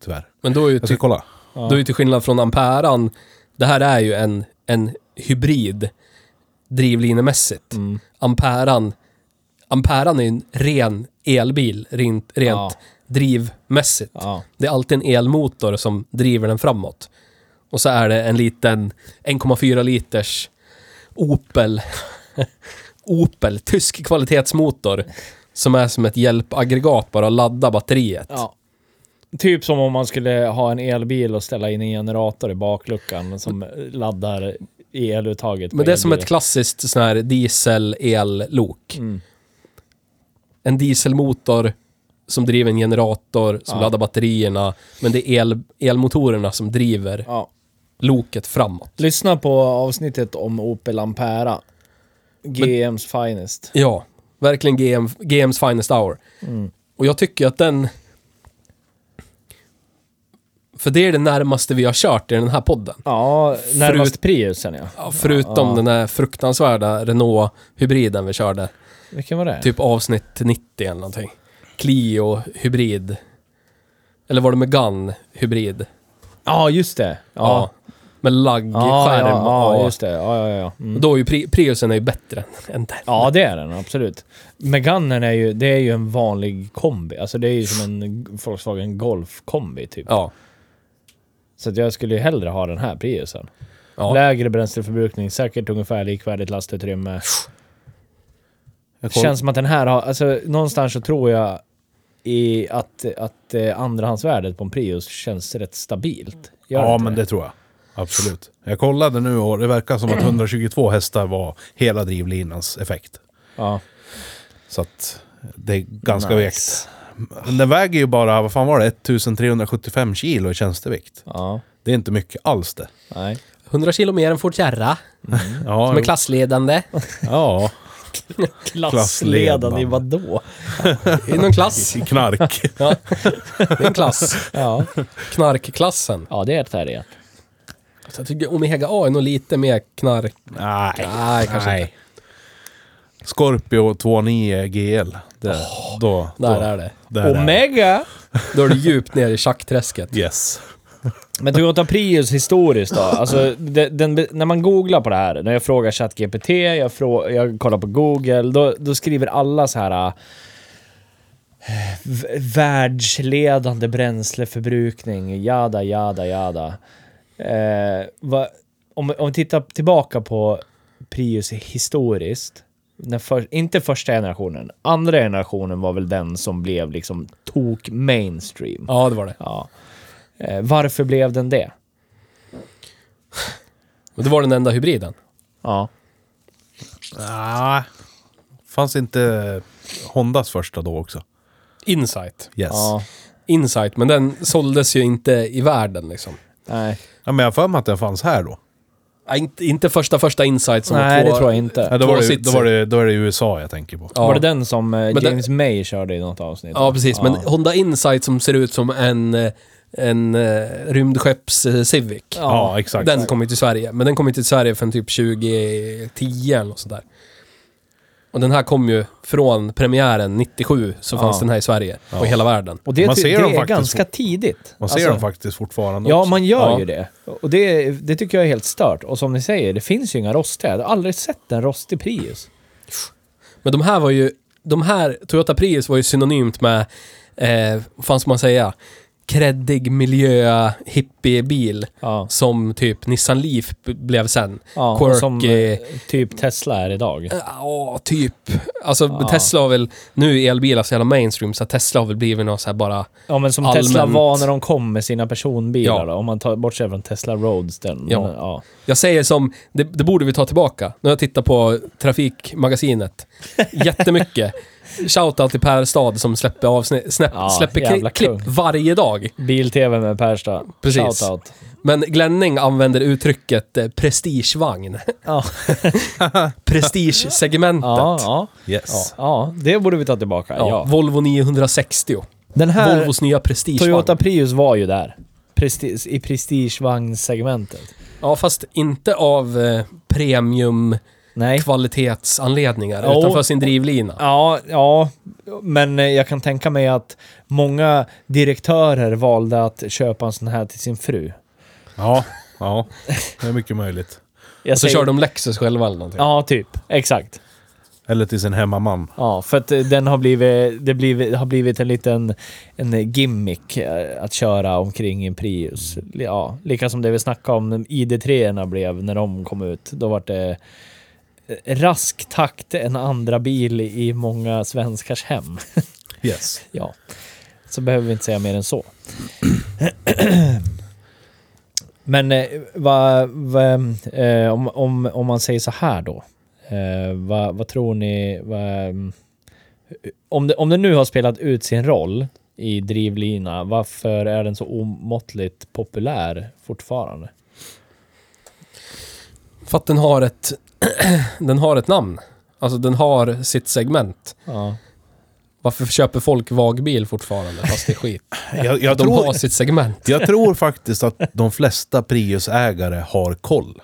Tyvärr.
Men då är ju
Jag ska kolla.
Då är ju till skillnad från Amperan, det här är ju en, en hybrid drivlinemässigt.
Mm.
Amperan, Amperan är ju en ren elbil, rent, rent
Ja.
drivmässigt.
Ja.
Det är alltid en elmotor som driver den framåt. Och så är det en liten 1,4 liters Opel, Opel, tysk kvalitetsmotor, som är som ett hjälpaggregat bara att ladda batteriet.
ja. Typ som om man skulle ha en elbil och ställa in en generator i bakluckan som laddar eluttaget. på
Men det är som ett
elbilen.
klassiskt sån här diesel-el-lok. En dieselmotor som driver en generator, som laddar batterierna. Men det är el, elmotorerna som driver
Ja.
loket framåt.
Lyssna på avsnittet om Opel Ampera. GM's finest.
Ja, verkligen GM, GM's finest hour. Och jag tycker att den... För det är det närmaste vi har kört i den här podden.
Ja, närmast
Förut-
Priusen ja.
Ja, Förutom den här fruktansvärda Renault-hybriden vi körde.
Vilken var det?
Typ avsnitt 90 eller någonting. Clio hybrid. Eller var det Megane hybrid?
Ja, just det. Ja,
Ja. Med
ja,
laggskärm.
ja, ja
och-
just det. Ja, ja, ja. Mm.
Då är ju Pri- Priusen är ju bättre än den.
Ja, det är den absolut. Meganen är ju, det är ju en vanlig kombi. Alltså det är ju som en Volkswagen Golf-kombi typ.
Ja.
Så att jag skulle ju hellre ha den här Priusen.
Ja.
Lägre bränsleförbrukning, säkert ungefär likvärdigt lastutrymme.
Jag
Det
koll-
känns som att den här har, alltså någonstans så tror jag i att, att eh, andrahandsvärdet på en Prius känns rätt stabilt. Gör
ja,
inte
men det tror jag. Absolut. Jag kollade nu och det verkar som att 122 hästar var hela drivlinans effekt.
Ja.
Så att det är ganska vekt. Men den väger ju bara, vad fan var det, 1375 kilo i tjänstevikt.
Ja.
Det är inte mycket alls det.
Nej.
100 kilo mer än Ford Kärra.
Ja,
Som är
jo.
klassledande.
ja.
Klassledande i vadå?
I någon klass.
i knark.
Ja. Det är en klass.
Ja.
Knarkklassen.
ja, det är det. här det är.
Så jag tycker Omega A är nog lite mer knark.
Nej,
Nej, kanske inte.
Scorpio 29 GL. Det, då,
Där
då,
är det.
där är det.
Omega!
Då är du djupt ner i schackträsket.
Yes.
Men Toyota Prius historiskt då? Alltså, de- den, be- när man googlar på det här, när jag frågar ChatGPT, jag, frå, jag kollar på Google, då, då skriver alla så här... eh, v- världsledande bränsleförbrukning, jada, jada, jada. Eh, vad- om, om vi tittar tillbaka på Prius historiskt, när för, inte första generationen, andra generationen var väl den som blev liksom tok mainstream.
Ja, det var det.
Ja. Eh, varför blev den det?
Och det var den enda hybriden.
Ja.
Ah. Fanns inte Hondas första då också?
Insight.
Yes.
ja.
Insight, men den såldes ju inte i världen liksom.
Nej,
Ja, men jag har för mig att den fanns här då.
Ja, Ah, inte, inte första första insight som
Nej
två,
det tror jag
Ja,
inte.
då, var det,
Tvåsitser.
då, var det, då är det USA jag tänker på.
Ja.
Var det den som eh,
det-
James May körde i något avsnitt?
Ja, precis. Men Honda Insight som ser ut som en, eh, en eh, rymdskepps eh, Civic.
Ja, exakt.
Den kom ju till Sverige, men den kom ju till Sverige från typ 2010 eller något sådär. Och den här kom ju från premiären 97, så
Ja.
fanns den här i Sverige och i hela världen.
Och det,
Man
ty-
ser
det
dem
är
faktiskt.
ganska tidigt.
Man ser
Alltså,
dem faktiskt fortfarande
Ja,
också.
man gör
Ja.
ju det. Och det, det tycker jag är helt stört. Och som ni säger, det finns ju inga rostiga. Jag har aldrig sett en rostig Prius.
Men de här var ju, de här, Toyota Prius var ju synonymt med, eh, vad fan ska man säga, kreddig miljö hippiebil
Ja.
som typ Nissan Leaf b- blev sen.
ja och
Quirky.
som eh, typ Tesla är idag.
Ja, typ. Alltså
Ja.
Tesla har väl, nu är elbilar så jävla mainstream så att Tesla har väl blivit någon så här bara
Ja, men som
allmänt-
Tesla var när de kom med sina personbilar
Ja.
då. Om man tar bort sig från Tesla Roadster.
Ja.
Men, ja.
Jag säger som, det, det borde vi ta tillbaka. Nu har jag tittat på Trafikmagasinet jättemycket. Shoutout till Per Stad som släpper, avsnitt, snäpp,
Ja,
släpper
jävla
kli, klipp
kung.
varje dag.
Bil-TV med Persta.
Precis.
Shoutout.
Men Glenning använder uttrycket eh, prestigevagn.
Ja.
Prestigesegmentet.
Ja, ja,
Yes.
ja, det borde vi ta tillbaka.
Ja,
Ja.
Volvo 960.
Den här
Volvos nya prestigevagn.
Toyota Prius var ju där. Prestige, I prestigevagnsegmentet.
Ja, fast inte av eh, premiumkvalitetsanledningar.
Nej.
Utan
Jo.
utanför sin drivlina.
Ja, ja, men eh, jag kan tänka mig att många direktörer valde att köpa en sån här till sin fru.
Ja, ja. Det är mycket möjligt.
Jag
Och så kör de Lexus själva eller någonting.
Ja, typ. Exakt.
Eller till sin hemmaman.
Ja, för att eh, den har blivit, det blivit, har blivit en liten en gimmick eh, att köra omkring i en Prius. Ja, lika som det vi snackade om id 3 blev när de kom ut. Då var det eh, rask takt en andra bil i många svenskars hem.
Yes.
Ja, så behöver vi inte säga mer än så. Men eh, vad, vad, eh, om, om, om man säger så här då. Eh, vad, vad tror ni? Vad, mm, om, det, om det nu har spelat ut sin roll i drivlina, varför är den så omåttligt populär fortfarande?
För att den har ett, den har ett namn. Alltså den har sitt segment.
Ja.
Varför köper folk vagbil fortfarande fast det är skit?
Jag, jag,
De har
tror,
sitt segment.
jag tror faktiskt att de flesta Prius-ägare har koll.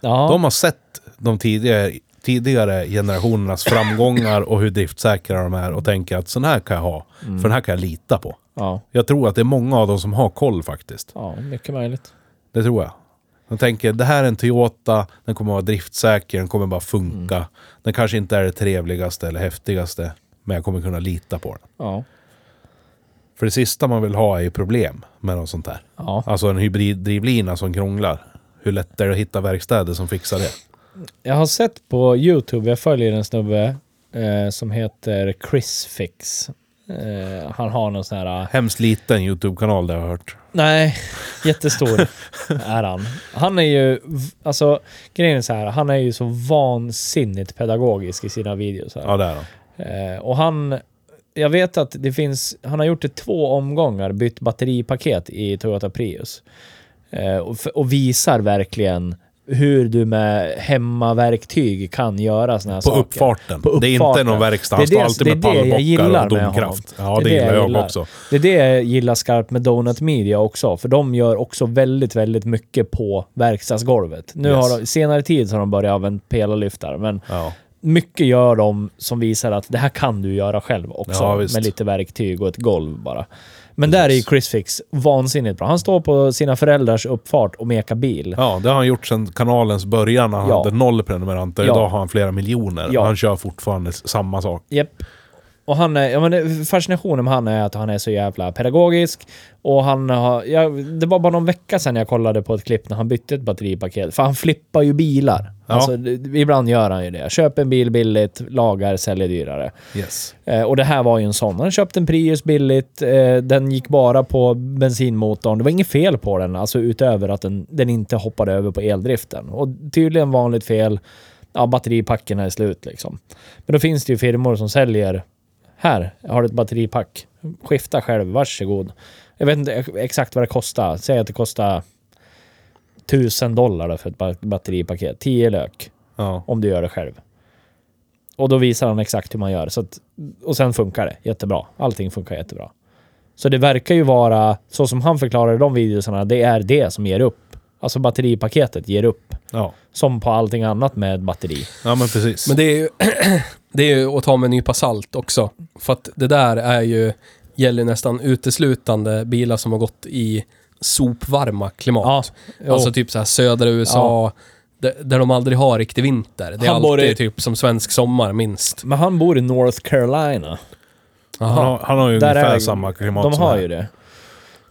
Ja,
De har sett de tidigare, tidigare generationernas framgångar och hur driftsäkra de är och tänker att sån här kan jag ha. För den här kan jag lita på.
ja,
Jag tror att det är många av dem som har koll faktiskt.
ja, mycket möjligt.
Det tror jag. De tänker, det här är en Toyota, den kommer vara driftsäker, den kommer bara funka.
Mm.
Den kanske inte är det trevligaste eller häftigaste, men jag kommer kunna lita på den.
Ja,
För det sista man vill ha är ju problem med något sånt där.
ja.
Alltså en hybriddrivlina som krånglar. Hur lätt är det att hitta verkstäder som fixar det?
Jag har sett på YouTube, jag följer en snubbe eh, som heter Chris Fix. Eh, han har någon sån här...
Hemskt liten YouTube-kanal det har jag hört.
Nej, jättestor är han. Han är ju, v- alltså grejen är så här, han är ju så vansinnigt pedagogisk i sina videos. Här.
Ja, det är de.
Eh, och han, jag vet att det finns, han har gjort det två omgångar, bytt batteripaket i Toyota Prius. Eh, och, f- och visar verkligen hur du med hemmaverktyg kan göra såna här
På
saker.
uppfarten.
På
Det är inte någon
uppfarten.
verkstad.
Det
Han
är
står
det-
alltid
det är
med
det jag
pallbockar
gillar
och
med honom.
domkraft. Ja,
är
det, gillar jag
gillar.
också.
Det är det jag gillar skarpt med Donut Media också, för de gör också väldigt, väldigt mycket på verkstadsgolvet. Nu
Yes.
har de, senare tid så har de börjat använda pelarlyftare, men
Ja.
mycket gör de som visar att det här kan du göra själv också.
Ja, visst.
med lite verktyg och ett golv bara. Men där är ju Chris Fix vansinnigt bra. Han står på sina föräldrars uppfart och mekar bil.
Ja, det har han gjort sedan kanalens början när han
Ja.
hade noll prenumeranter.
Ja.
Idag har han flera miljoner.
Ja.
Han kör fortfarande s- samma sak.
Japp. Och han är, ja, men det- fascinationen med han är att han är så jävla pedagogisk. Och han har, ja, det var bara någon vecka sedan jag kollade på ett klipp när han bytte ett batteripaket. För han flippar ju bilar.
Ja.
Alltså, det- ibland gör han ju det. Köper en bil billigt, lagar, säljer dyrare.
Yes.
Eh, och det här var ju en sån. Han köpte en Prius billigt. Eh, den gick bara på bensinmotorn. Det var inget fel på den, alltså utöver att den, den inte hoppade över på eldriften. Och tydligen vanligt fel. Ja, batteripackerna är slut liksom. Men då finns det ju firmor som säljer. Här har du ett batteripack. Skifta själv, varsågod. Jag vet inte ex- exakt vad det kostar. Säg att det kostar 1000 dollar då för ett ba- batteripaket. 10 lök
Ja.
om du gör det själv. Och då visar han exakt hur man gör. Så att, och sen funkar det jättebra. Allting funkar jättebra. Så det verkar ju vara, så som han förklarar i de videorna, det är det som ger upp. Alltså batteripaketet ger upp.
Ja.
Som på allting annat med batteri.
ja, men precis.
Men det är ju, det är ju att ta med en nypa salt också. För att det där är ju, gäller nästan uteslutande bilar som har gått i sopvarma klimat.
jo.
alltså typ så här södra USA, där, där de aldrig har riktig vinter. Det är
Han bor i-
alltid typ som svensk sommar minst.
Men han bor i North Carolina.
Han har, han har ju ungefär
är-
samma klimat
De
som
har
här.
ju det.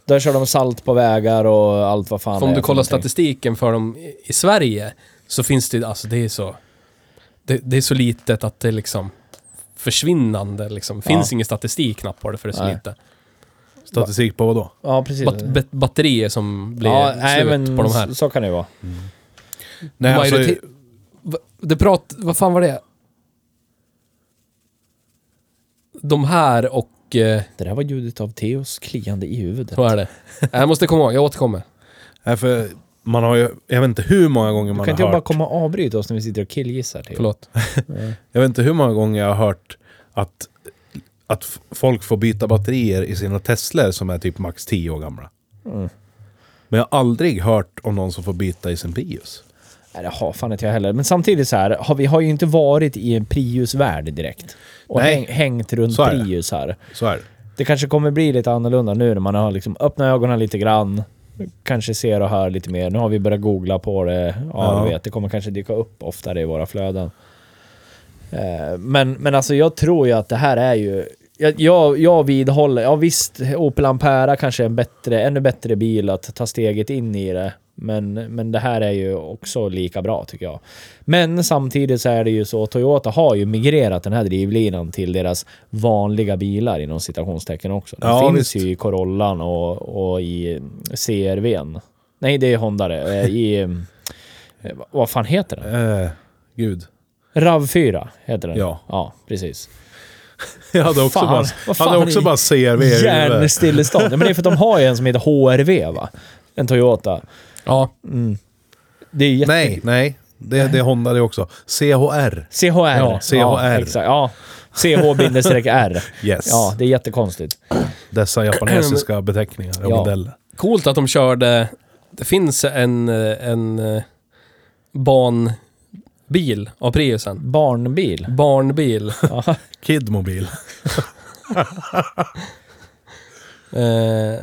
Där kör de salt på vägar och allt vad fan
För om
det
du
är för
kollar
någonting.
statistiken för dem i- i Sverige så finns det, alltså det är så... Det, det är så litet att det är liksom försvinnande liksom. Finns ingen statistik knappt på det för det är så
Nej.
lite.
Statistik på vad då?
Ja, precis.
Bat, bat, batterier som blir
ja,
slut
nej, men
på de här.
så- Så kan det ju vara.
Nej, alltså,
Majorite- Va- det prat, vad fan var det? De här och... Eh,
Det där var ljudet av Theos kliande i huvudet.
vad är det? Nej, Jag måste komma ihåg, jag återkommer.
nej, för man har ju, jag vet inte hur många gånger
Du
man
kan
har
inte bara
hört.
komma och avbryta oss när vi sitter och killgissar. Theo.
Förlåt.
Jag vet inte hur många gånger jag har hört att, att f- folk får byta batterier i sina Teslor som är typ max 10 år gamla.
Mm.
Men jag har aldrig hört om någon som får byta i sin Prius.
Nej, det har fan inte jag heller. Men samtidigt så här, har vi har ju inte varit i en Prius-värld direkt. Och
Nej.
häng, hängt runt
Så är det.
Prius här.
Så är det.
Det kanske kommer bli lite annorlunda nu när man har liksom öppnat ögonen lite grann. Kanske ser och hör lite mer. Nu har vi börjat googla på det. Ja,
Ja.
du vet. Det kommer kanske dyka upp oftare i våra flöden. Eh, Men, men alltså jag tror ju att det här är ju... Jag, jag, jag vidhåller, ja visst, Opel Ampera kanske är en bättre, ännu bättre bil att ta steget in i det. Men, men det här är ju också lika bra tycker jag. Men samtidigt så är det ju så, Toyota har ju migrerat den här drivlinan till deras vanliga bilar inom citationstecken också. Den
Ja,
finns
visst.
ju i Corollan och, och i CRVn. Nej, det är Honda det. Eh, I... eh, Vad fan heter den?
Eh, gud.
RAV4 heter den.
Ja.
Ja, precis.
Jag hade också
Fan,
bara,
vad
hade
fan
också
i-
bara CRV i huvudet.
Hjärnstillestånd. Ja, men det är för att de har ju en som heter HRV va? En Toyota.
Ja,
Det är ju jätte...
Nej, nej. Det, det är Honda det också. CHR.
CHR. Ja,
CHR.
exakt. Ja. CH-R.
Yes.
Ja, det är jättekonstigt.
Dessa japanesiska beteckningar och
Ja.
modeller.
coolt att de körde... Det finns en, eh, en eh, barnbil av Priusen.
Barnbil.
Barnbil.
Kidmobil.
eh,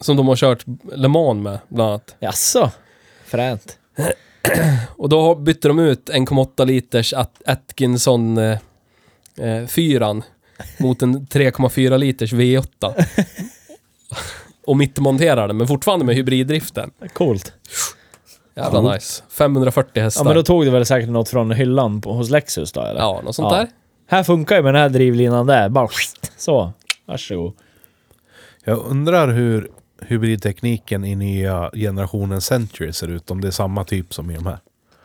som de har kört Le Mans med, bland annat.
Jaså? Fränt.
Och då har- bytte de ut 1,8 liters At- Atkinson eh, eh, fyran mot en 3,4 liters V8. Och mittmonterade, men fortfarande med hybriddriften.
Coolt.
Jävla
Coolt.
nice. 540 hästar.
Ja, men då tog du väl säkert något från hyllan på, hos Lexus då eller?
Ja, något sånt
Ja.
där.
Här funkar ju med den här drivlinan där. Bara så. Varsågod.
Jag undrar hur hybridtekniken i nya generationen Century ser ut. Om det är samma typ som i de här.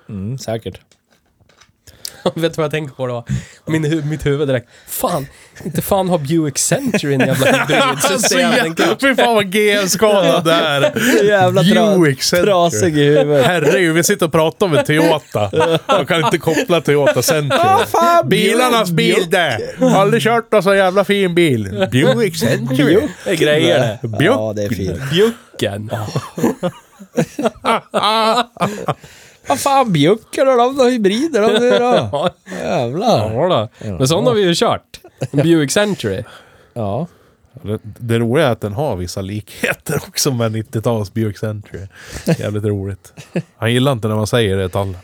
Mm, säkert.
Vet du vad jag tänker på då? Min hu mitt huvud direkt. Fan, inte fan har Buick Century en jävla
Alltså,
hybridsystem. tänker jag.
Alltså, Fy fan vad GM-skadad det är!
Jävla tra-
Buick Century.
trasig i huvudet.
Herregud, vi sitter och pratar om en Toyota. Jag kan inte koppla Toyota Century. Bilarnas bil det! Aldrig kört någon så jävla fin bil. Buick Century.
Det är grejer det.
Bjuck.
det är fint.
Bjucken.
Ah,
Vad fan bjucker de? De har hybrider de nu då.
Ja,
Jävlar.
då. Men sån har vi ju kört. En Buick Century.
Ja.
Det, det roliga är att den har vissa likheter också med 90-tals Buick Century. Jävligt roligt. Han gillar inte när man säger det tal.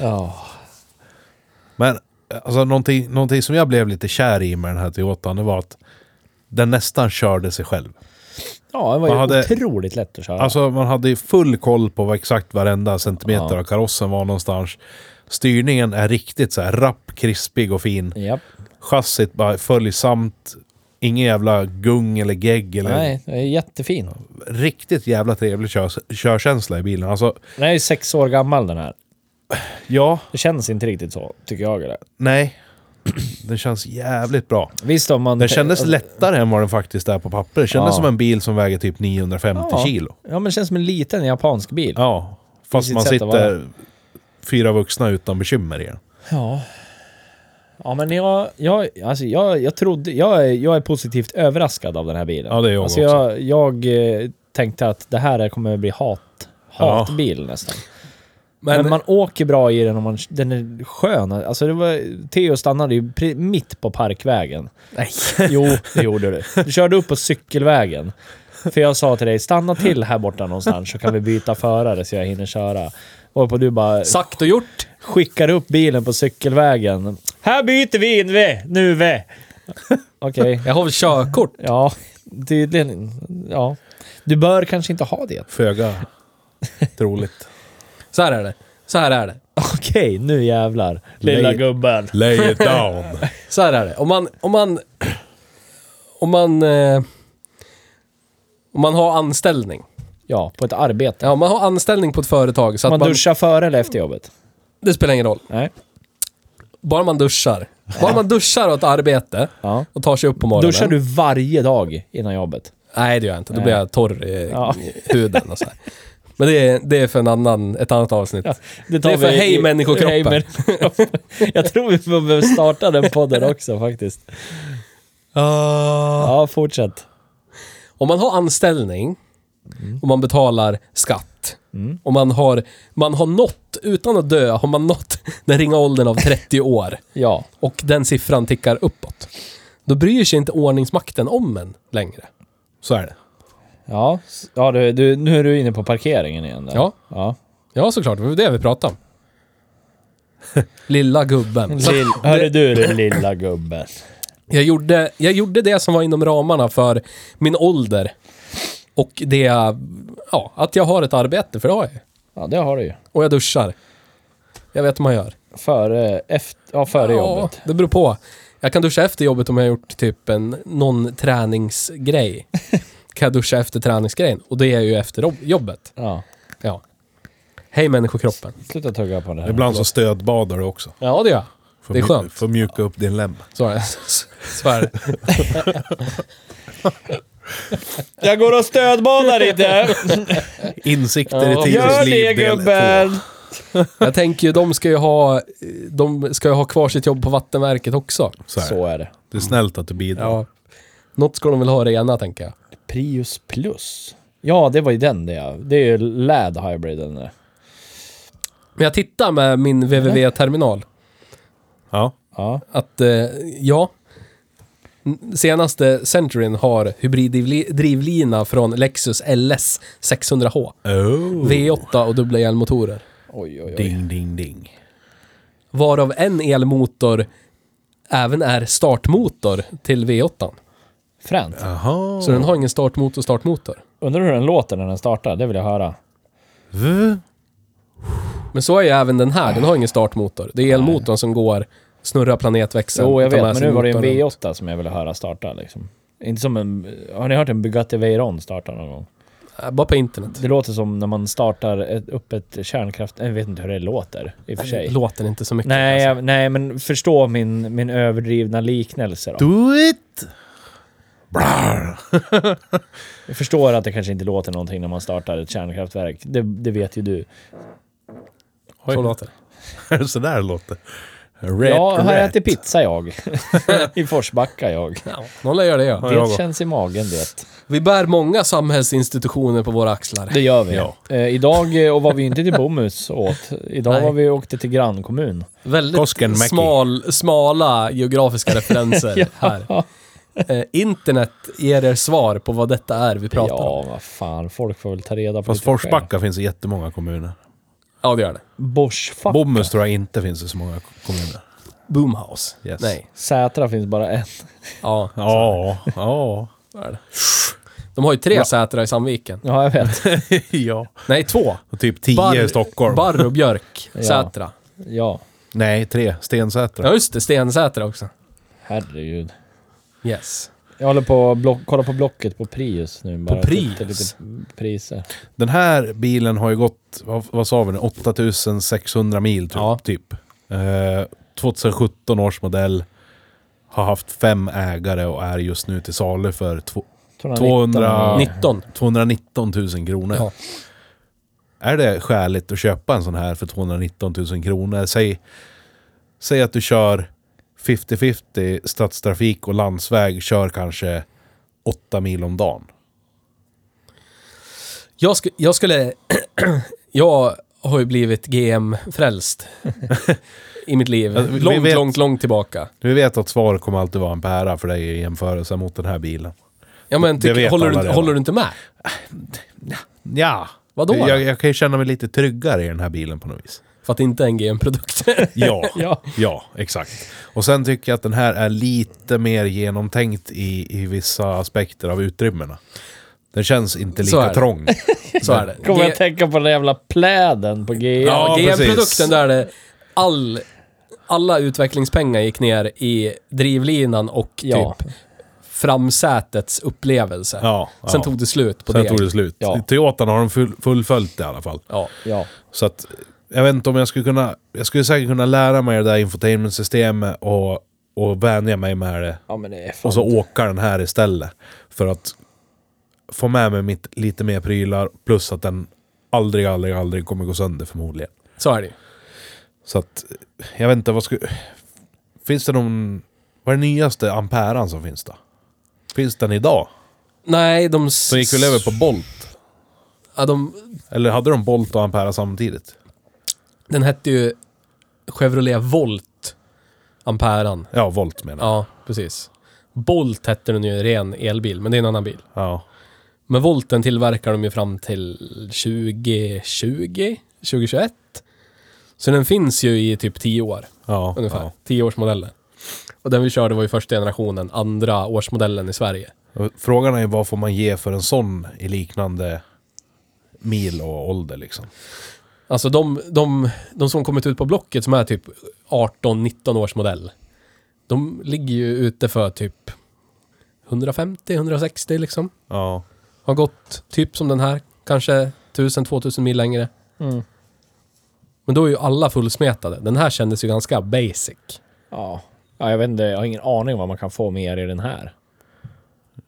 Ja.
Men alltså, någonting, någonting som jag blev lite kär i med den här Toyotan, det var att den nästan körde sig själv.
Ja, den var ju
Man hade-
otroligt lätt att köra.
Alltså man hade ju full koll på vad exakt varenda centimeter
Ja.
av karossen var någonstans. Styrningen är riktigt så här rapp, krispig och fin.
Japp.
Chassit bara följsamt. Ingen jävla gung eller gegg eller...
Nej, den är jättefin.
Riktigt jävla trevlig kör, körkänsla i bilen. Alltså,
Den är ju sex år gammal den här.
ja,
Det känns inte riktigt så, tycker jag. Eller?
nej. Den känns jävligt bra.
Visst om man... Alltså-
Den kändes lättare än vad den faktiskt är på papper. Det kändes
Ja.
som en bil som väger typ 950
Ja.
kilo.
Ja, men det känns som en liten japansk bil.
Ja,
sitt
fast man
sätt att
sitter fyra vuxna utan bekymmer i den.
Ja. Ja men jag, jag, alltså jag, jag trodde, jag är, jag är positivt överraskad av den här bilen.
Ja, det är jag
alltså
också.
jag, jag eh, tänkte att det här kommer att bli hat, hatbil nästan. Men,
Men,
man åker bra i den och man, den är skön. Alltså det var, Theo stannade ju pre- mitt på parkvägen. Nej. Jo, det gjorde du. Du körde upp på cykelvägen. För jag sa till dig, stanna till här borta någonstans så kan vi byta förare så jag hinner köra. Varpå du bara
sagt och gjort.
skickar upp bilen på cykelvägen. Här byter vi in vi, nu vi. Okej,
Jag har väl körkort.
ja, tydligen. Ja. Du bör kanske inte ha det.
Föga troligt.
Så här är det. Så här är det.
Okej, nu jävlar. Lilla
Nej.
gubben.
Lay it down.
Så här är det. Om man... Om man... Om man... Eh, om man har anställning.
Ja, på ett arbete.
Ja, om man har anställning på ett företag så att
man,
man...
duschar före eller efter jobbet?
Det spelar ingen roll.
Nej.
Bara man duschar. Bara man duschar och ett arbete
Ja.
och tar sig upp på morgonen.
Duschar du varje dag innan jobbet?
Nej, det gör jag inte. Då blir jag torr i
Ja.
i huden och så här. Men det är, det är för en annan, ett annat avsnitt.
tar
Det är för
vi i-
hej, människokroppen.
Hej, människokroppen. Jag tror vi behöver starta den podden också faktiskt. Ja, fortsätt.
Om man har anställning och man betalar skatt och man har, man har nått, utan att dö, har man nått den ringa åldern av 30 år
Ja.
och den siffran tickar uppåt. Då bryr sig inte ordningsmakten om en längre.
Så är det.
Ja, s- ja du, du, nu är du inne på parkeringen igen. Där.
Ja.
ja.
Ja, såklart. Det var det vi pratade om. Lilla gubben. Så
Lill, hörru du, den lilla gubben.
jag, gjorde, jag gjorde det som var inom ramarna för min ålder. Och det... Ja, att jag har ett arbete, för det har jag.
Ja, det har du ju.
Och jag duschar. Jag vet hur man gör.
Före, efter, ja, före jobbet.
det beror på. Jag kan duscha efter jobbet om jag har gjort typ en, någon träningsgrej. kan jag duscha efter träningsgrejen. Och det är ju efter jobb- jobbet.
Ja.
Ja. Hej människokroppen.
Sluta tugga på det här.
Ibland så stödbadar du också.
Ja, det gör jag.
För
Det är
mju-
skönt.
För att mjuka upp din lem.
Så är det. Så är det.
Jag går och stödbanar lite!
Insikter i
Gör
Tios
det
liv del
gubben!
två.
Jag tänker ju, de ska ju ha... De ska ju ha kvar sitt jobb på Vattenverket också.
Så är det.
Så är det.
det är snällt att du bidrar.
Ja. Något ska de väl ha rena, tänker jag.
Prius plus. Ja, det var ju den det. ja. Det är ju Lad Hybriden. det.
Men jag tittar med min VVV-terminal.
Ja.
Ja.
Att, eh, ja. N- Senaste Centuryn har hybriddrivlina från Lexus LS 600H.
Oh.
V8 och dubbla elmotorer.
Oj, oj, oj.
Ding, ding, ding.
Varav en elmotor även är startmotor till V8.
Fränt.
Jaha.
Så den har ingen startmotor, startmotor.
Undrar hur den låter när den startar. Det vill jag höra.
V?
Men så är ju även den här. Den har ingen startmotor. Det är elmotorn som går, snurrar planetväxeln.
Jo, jag
tar
vet.
med
Men
sig
nu var det en
motorn runt.
V8 som jag ville höra starta liksom. Inte som en... Har ni hört en Bugatti Veyron starta någon gång?
Äh, Bara på internet.
Det låter som när man startar ett, upp ett kärnkraft... Jag vet inte hur det låter i och för sig.
Äh, Låter inte så mycket.
Nej,
alltså.
jag, nej, men förstå min, min överdrivna liknelse då.
Do it! Brar.
Jag förstår att det kanske inte låter någonting när man startar ett kärnkraftverk. Det, det vet ju du.
Så låter det.
Så där låter Rätt,
jag har
rätt.
ätit pizza jag. I Forsbacka jag.
Ja, någon lär göra det ja.
Ja, jag
Det
går.
känns i magen det.
Vi bär många samhällsinstitutioner på våra axlar.
Det gör vi.
Ja.
Eh, idag eh, och var vi inte till Bomhus åt. Idag
Nej.
var vi och åkte till grannkommun.
Väldigt
Koskenmäki.
smal, smala geografiska referenser här. Eh, internet ger er svar på vad detta är vi pratar om.
Ja, vad fan. Folk får väl ta reda på
Fast
lite själv.
Forsbacka finns i jättemånga kommuner.
Ja, det gör det.
Borsbacka.
Bomhus tror jag inte finns i så många kommuner.
Boomhouse.
Yes.
Nej.
Sätra finns bara en.
Ja,
Ja, ja.
så är det. De har ju tre Sätra i Sandviken.
Ja, jag vet.
ja.
Nej, två.
Och typ tio i Stockholm.
Barr och Björk
Ja.
Sätra.
Ja,
Nej, tre. Stensätra.
Ja, just det. Stensätra också.
herregud.
Yes.
Jag håller på att block, kolla på Blocket på Prius nu. Bara
Prius?
titta Lite priser.
Den här bilen har ju gått, vad, vad sa vi nu, 8600 mil typ.
Ja.
typ. Eh, 2017 års modell. har haft fem ägare och är just nu till salu för två,
219.
200
19.
219 000 kronor.
Ja.
Är det skäligt att köpa en sån här för 219 000 kronor? Säg, säg att du kör 50-50 stadstrafik och landsväg, kör kanske 8 mil om dagen.
Jag, sku, jag skulle... jag har ju blivit GM-frälst i mitt liv.
Ja, Alltså, vi- vi
långt,
vet-
långt, långt tillbaka.
Vi vet att svaret kommer alltid vara en pära för dig i jämförelse mot den här bilen.
Ja, men
Det
tycker,
vet
håller,
alla
du,
redan.
håller du inte med?
Ja.
Vadå då?
Jag, jag kan ju känna mig lite tryggare i den här bilen på något vis.
För att det inte är en GM-produkt.
Ja,
Ja.
ja. exakt. Och sen tycker jag att den här är lite mer genomtänkt i, i vissa aspekter av utrymmena. Den känns inte
Så är
lika
det.
trång.
Så är det.
Kommer
G-
jag att tänka på den där jävla pläden på GM.
Ja,
Ja,
GM-produkten
precis.
där det all, alla utvecklingspengar gick ner i drivlinan och
Ja.
typ framsätets upplevelse.
Ja,
Sen
ja.
tog det slut på
Sen
det.
tog det slut.
Ja.
I Toyotan har de full, fullföljt det i alla fall.
Ja.
ja.
Så att, jag vet inte om jag skulle kunna... Jag skulle säkert kunna lära mig det där infotainmentsystemet och, och vänja mig med det.
Ja, men det är fan...
Och så åka den här istället. För att få med mig mitt, lite mer prylar. Plus att den aldrig, aldrig, aldrig kommer gå sönder förmodligen.
Så är det ju.
Så att, jag vet inte vad skulle... Finns det någon... Vad är den nyaste amperan som finns då? Finns den idag?
Nej, de... s-
Så gick väl över på Bolt?
Ja, de,
Eller hade de Bolt och ampera samtidigt?
den hette ju Chevrolet Volt. Amperan.
Ja, Volt menar jag.
Ja, precis. Bolt hette den ju, ren elbil, men det är en annan bil.
Ja.
Men Volten tillverkar de ju fram till 2020, 2021. Så den finns ju i typ 10 år.
Ja.
ungefär. 10-årsmodellen. Och den vi körde var ju första generationen, andra årsmodellen i Sverige.
ja. Frågan är ju vad får man ge för en sån i liknande mil och ålder liksom.
Alltså de, de, de som kommit ut på Blocket som är typ 18-19 års modell. De ligger ju ute för typ 150-160 liksom.
Ja.
Har gått typ som den här, kanske 1000-2000 mil längre.
Mm.
Men då är ju alla fullsmetade. Den här kändes ju ganska basic.
Ja. ja, jag vet inte. Jag har ingen aning om vad man kan få mer i den här.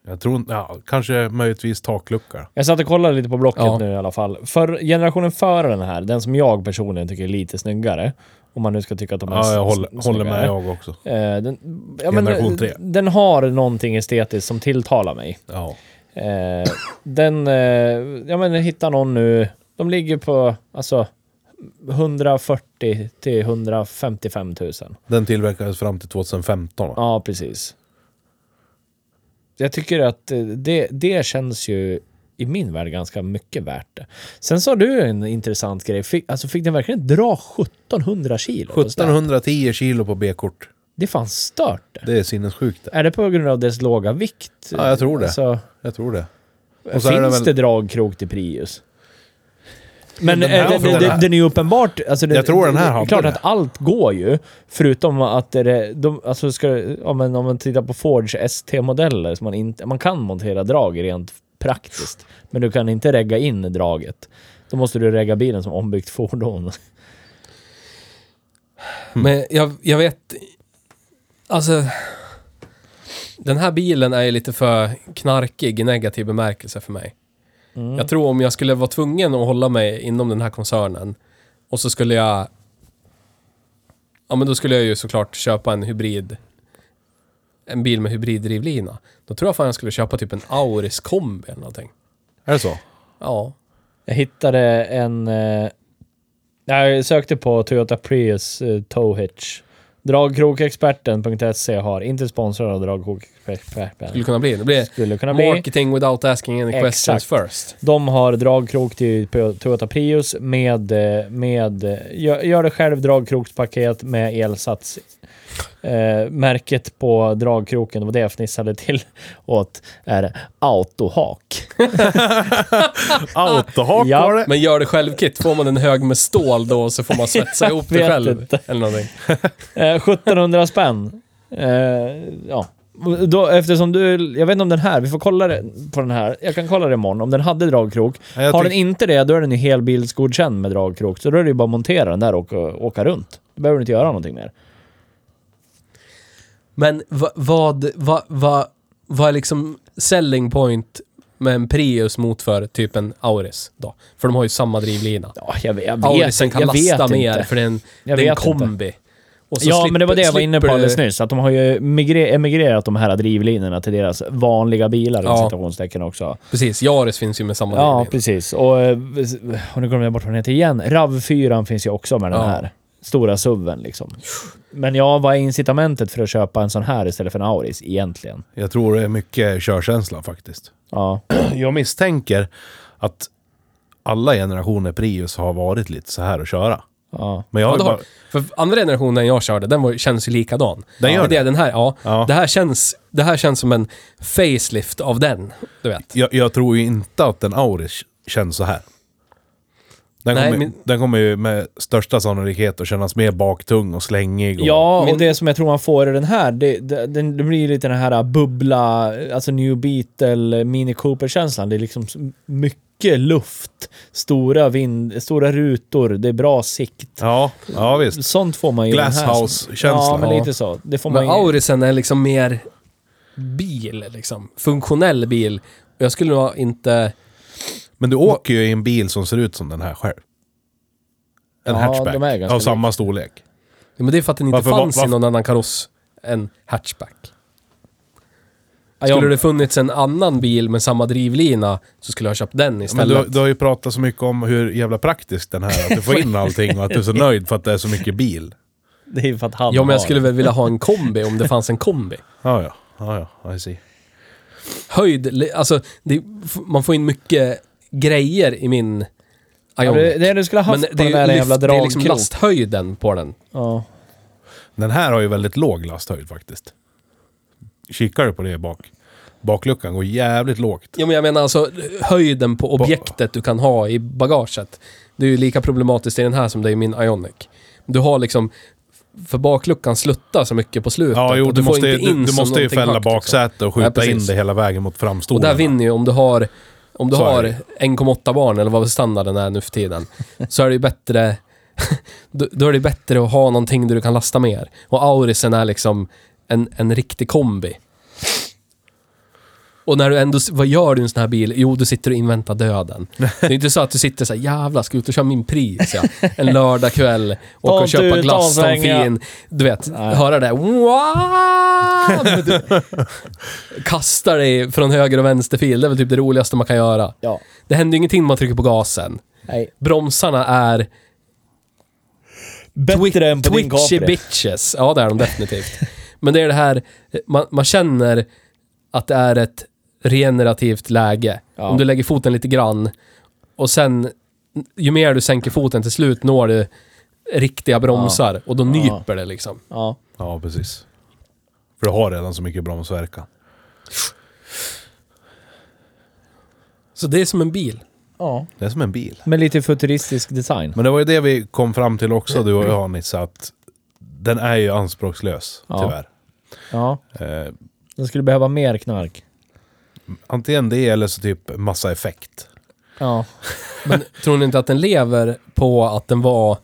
Jag tror inte- ja, kanske möjligtvis taklucka.
Jag satt och kollade lite på Blocket
Ja.
nu i alla fall. För generationen före den här, den som jag personligen tycker är lite snyggare. Om man nu ska tycka att de är
Ja, jag
s-
håller,
s-
håller med
snyggare.
jag också.
Eh, Den, ja, men,
Generation
eh,
tre.
den har någonting estetiskt som tilltalar mig.
Ja.
Eh, den, eh, ja men hitta någon nu. De ligger på alltså 140 till 155 000.
Den tillverkades fram till 2015 va?
Ja, precis. Jag tycker att eh, det, det känns ju i min värld ganska mycket värt det. Sen sa du en intressant grej. Fick, alltså fick den verkligen dra 1700 kilo? på släp?
1710 kilo på B-kort.
Det är fan stört det.
Det är sinnessjukt det.
Är det på grund av dess låga vikt?
Ja, jag tror det.
Alltså,
Jag tror det. Och
Finns
så är det
det,
väl-
dragkrok till Prius? Men
den här
eh, den,
frågan-
den, den är ju uppenbart... Alltså den,
Jag tror den här
Det är
hade
klart
det.
att allt går ju. Förutom att det, de, alltså ska, ja, men om man tittar på Fords ST-modeller, så man, inte, man kan montera drag rent praktiskt. Men du kan inte regga in draget. Då måste du regga bilen som ombyggt fordon. Mm.
Men jag, jag vet... Alltså... Den här bilen är ju lite för knarkig i negativ bemärkelse för mig.
Mm.
Jag tror om jag skulle vara tvungen att hålla mig inom den här koncernen och så skulle jag... Ja, men då skulle jag ju såklart köpa en hybrid... En bil med hybriddrivlina. Då tror jag fan jag skulle köpa typ en Auris kombi eller någonting.
Är det så?
Ja.
Jag hittade en... Eh, jag sökte på Toyota Prius eh, Tow Hitch. Dragkrokexperten.se E har, inte sponsrad av
Skulle
Dragkrokexperten,
kunna bli. Det blir
skulle kunna bli.
marketing without asking any questions
Exakt.
first.
De har dragkrok till P- Toyota Prius med, eh, med eh, gör, gör det själv dragkrokspaket med elsats. Eh, märket på dragkroken, det var det jag fnissade till åt, är autohak.
Autohak
Ja.
var det.
Men gör det själv-kit. Får man en hög med stål då så får man svetsa ihop det
vet
själv.
inte.
Eller någonting.
Eh, 1700 spänn. Eh, ja. Då, eftersom du, jag vet inte om den här, vi får kolla det- på den här. Jag kan kolla det imorgon, om den hade dragkrok.
Ja, jag
Har
tyck-
den inte det, då är den ju helbilsgodkänd med dragkrok. Så då är det ju bara att montera den där och åka, åka runt. Då behöver du inte göra någonting mer.
Men va, vad, vad, vad, vad är liksom selling point med en Prius mot för typ en Auris då? För de har ju samma drivlina.
Ja, jag, jag vet,
Aurisen kan
jag vet
lasta
inte.
mer för det är en, det
Jag
är en
vet inte.
kombi. Och så
ja,
slipper-
men det var det jag var inne på
slipper du-
alldeles nyss. Att de har ju migre- emigrerat de här drivlinorna till deras vanliga bilar
Ja.
ja. citationstecken också.
Precis, Yaris finns ju med samma
Ja,
drivlina.
precis. Och, eh, och nu glömde jag bort vad den heter igen. RAV4 finns ju också med den
Ja.
här. Stora suven liksom. Men ja, vad är incitamentet för att köpa en sån här istället för en Auris egentligen?
Jag tror det är mycket körkänsla faktiskt.
Ja,
Jag misstänker att alla generationer Prius har varit lite så här att köra.
ja.
Men jag
Ja,
har
det
ju
har,
bara,
för andra generationen jag körde, den var, känns ju likadan.
Den gör
det. är Den här, ja,
Ja.
Det, här känns, det här känns som en facelift av den, du vet.
jag, jag tror ju inte att en Auris känns så här. Den,
Nej,
kommer,
men-
den kommer ju med största sannolikhet att kännas mer baktung och slängig. Och,
Ja, och
Men-
det som jag tror man får i den här, det, det, den- det blir lite den här äh, bubbla, alltså New Beetle, Mini Cooper-känslan. Det är liksom s- mycket luft, stora vind, stora rutor, det är bra sikt.
ja, ja visst.
Sånt får man ju i den här.
Glasshouse-känsla.
Ja, men
Ja.
lite så. Det får man
Men
ju.
Aurisen är liksom mer bil, liksom. Funktionell bil. Och Jag skulle nog inte...
Men du åker ju i en bil som ser ut som den här själv. En
Ja,
hatchback.
de är ganska
av samma storlek.
Ja, men det är för att den inte
Varför-
fanns i
varför-
någon annan kaross än hatchback.
Ja, jag-
Skulle det funnits en annan bil med samma drivlina så skulle jag ha köpt den
Men du,
istället.
du har ju pratat så mycket om hur jävla praktiskt den här är. Att du får in allting och att du är så nöjd för att det är så mycket bil.
Det är ju för att han
ja, men
har
jag skulle väl vilja ha en kombi om det fanns en kombi.
Ja, ja. Ja, ja. I see.
Höjd, li- alltså det, f- man får in mycket grejer i min
ja,
Ioniq.
det, det du skulle ha haft
men
på
det
den där
är, ju
jävla
lyft, det är
dragkrok.
liksom lasthöjden på den.
ja.
Den här har ju väldigt låg lasthöjd faktiskt. Kikar du på det bak? Bakluckan går jävligt lågt.
Ja, men jag menar alltså höjden på objektet du kan ha i bagaget. Det är ju lika problematiskt i den här som det är i min Ionic. Du har liksom, för bakluckan sluttar så mycket på slutet.
Ja, jo,
och
du
får
måste,
inte
ju-
in
du, du
så
måste ju
någonting
fälla
högt, liksom.
baksätet och
Ja,
skjuta
precis.
in det hela vägen mot
Och
framstolen.
där vinner ju om du har, om du
Så är
har
det.
1,8 barn, eller vad standarden är nu för tiden, så är det ju bättre då, då är det bättre att ha någonting där du kan lasta mer. Och Aurisen är liksom en, en riktig kombi. Och när du ändå, s- vad gör du i en sån här bil? Jo, du sitter och inväntar döden. Det är inte så att du sitter så här, jävlar, ska ut och köra min pris ja. En lördag kväll,
Ta
och
en
och köpa
tur,
glass
ta
som
en sväng, ja.
fin. Du vet, höra det där, wow! Du- kastar dig från höger och vänster fil. Det är väl typ det roligaste man kan göra.
Ja.
Det händer ju ingenting när man trycker på gasen.
Nej.
Bromsarna är
Bättre än på din
twitchy
Capri.
bitches. Ja, det är de definitivt. Men det är det här, man, man känner att det är ett regenerativt läge.
Ja.
Om du lägger foten lite grann och sen, ju mer du sänker foten till slut når du riktiga bromsar och då nyper det liksom.
ja.
Ja, precis. För du har redan så mycket bromsverkan.
Så det är som en bil.
ja.
Det är som en bil.
Med lite futuristisk design.
Men det var ju det vi kom fram till också, du och jag Nisse, att den är ju anspråkslös,
Ja.
tyvärr.
Ja.
Eh,
Den skulle behöva mer knark.
antingen det eller så typ massa effekt.
Ja.
Men tror ni inte att den lever på att den var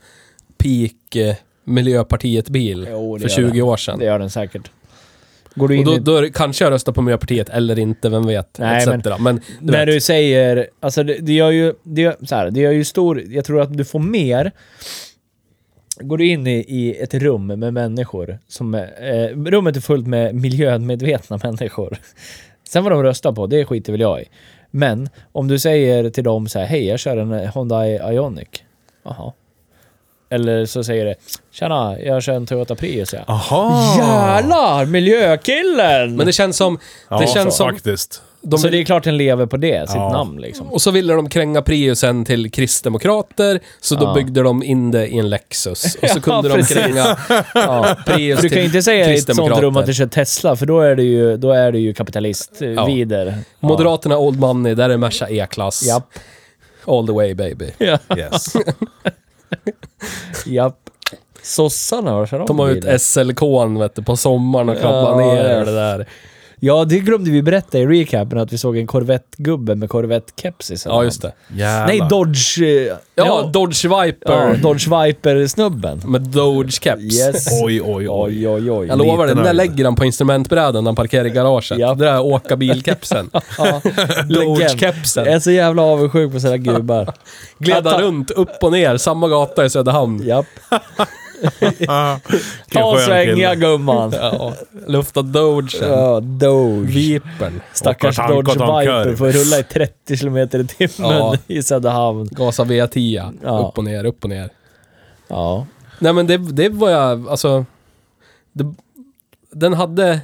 peak eh, Miljöpartiet-bil
Jo, det
för
gör den.
20 år sedan?
Det gör den säkert. Går du
Och
in
då,
i...
då är det- kanske jag röstar på Miljöpartiet eller inte, vem vet?
Nej,
etc. Men, du
när
vet,
du säger... Alltså det, det gör ju... Det gör, så här, det gör ju stor... Jag tror att du får mer... Går du in i, i ett rum med människor som... Eh, rummet är fullt med miljömedvetna människor. Sen vad de röstar på, det skiter väl jag i. Men om du säger till dem så här, hej jag kör en eh, Honda Ionic. Jaha. Eller så säger det, tjena jag kör en Toyota Prius ja.
Aha!
Jävlar, miljökillen!
Ah. men det känns som...
Ja,
det känns som
faktiskt.
de,
så det är klart den lever på det, sitt
Ja.
namn liksom.
Och så ville de kränga Priusen till kristdemokrater, så då
Ja.
byggde de in det i en Lexus. Och så
Ja,
kunde de
precis.
kränga
Ja.
Prius
Du kan ju
till
inte säga i ett sånt
kristdemokrater.
rum att du kör Tesla, för då är du ju, då är du ju kapitalist eh,
Ja.
vider. Ja.
Moderaterna Old Money, där är Merca E-klass.
Japp,
All the way baby.
Yes.
japp. Sossarna, vad kör de?
De har ju
bilen?
ut SLK vet du, på sommaren och klappar
Ja,
ner
ja.
det där.
Ja, det glömde vi berätta i recapen att vi såg en Corvette-gubbe med Corvette-kepsis. eller
Ja, just
något.
det.
Jävlar.
Nej, Dodge... eh, Ja,
Ja, Dodge
ja,
Viper
Dodge Viper-snubben.
med Dodge Caps.
Yes.
Oj, oj, oj.
Oj, oj, oj.
Jag lovar dig,
liten
den där
öl.
lägger han på instrumentbrädan när han parkerar i garaget.
Ja.
Det där åka bilkepsen.
Ja, legend.
Dodge-kepsen.
Jag är så jävla avundsjuk på sådana gubbar.
Gleda
Ja, ta-
runt, upp och ner, samma gata i Söderhamn.
Japp.
Ah, vilken
Ta
skön
svänga
kille.
gumman.
Ja, lufta Dogen.
Ja, Doge.
Vipern.
Stackars
Hoppas han
Dodge
gått omkör.
Viper får rulla i 30 km i timmen
Ja.
i Söderhamn.
Gasa V10.
Ja.
Upp och ner, upp och ner.
Ja.
Nej men det, det var jag, alltså... Det, den hade...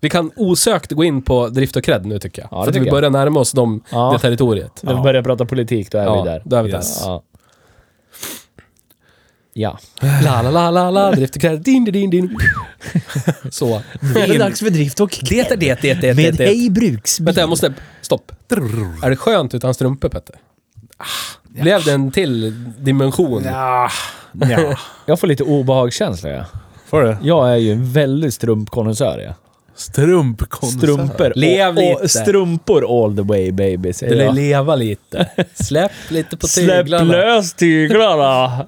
Vi kan osökt gå in på drift och cred nu tycker jag.
Ja, det
För att vi
tycker jag.
börjar närma oss de,
Ja.
det territoriet.
När vi börjar prata politik, då är
Ja,
vi där.
Då är vi
Yes.
där.
Ja. Ja.
La, la, la, la, la, drift och cred. Din, din, din, din. Så.
Nu är det dags för drift och
Det är det, det, det, det,
med
det.
Hej Bruksbil.
Vänta, jag måste... Stopp. Är det skönt utan strumpor, Petter?
Ah,
Blev det en till dimension?
Ja, ja.
Jag får lite obehagskänsla. Ja.
Får du?
Jag är ju en väldigt strumpkonnässör. Ja.
Strumpkonsert.
Strumpor.
Lev
och,
lite.
och strumpor all the way baby, säger
Eller
jag.
leva lite. Släpp lite på
Släpp
tyglarna.
lös tyglarna!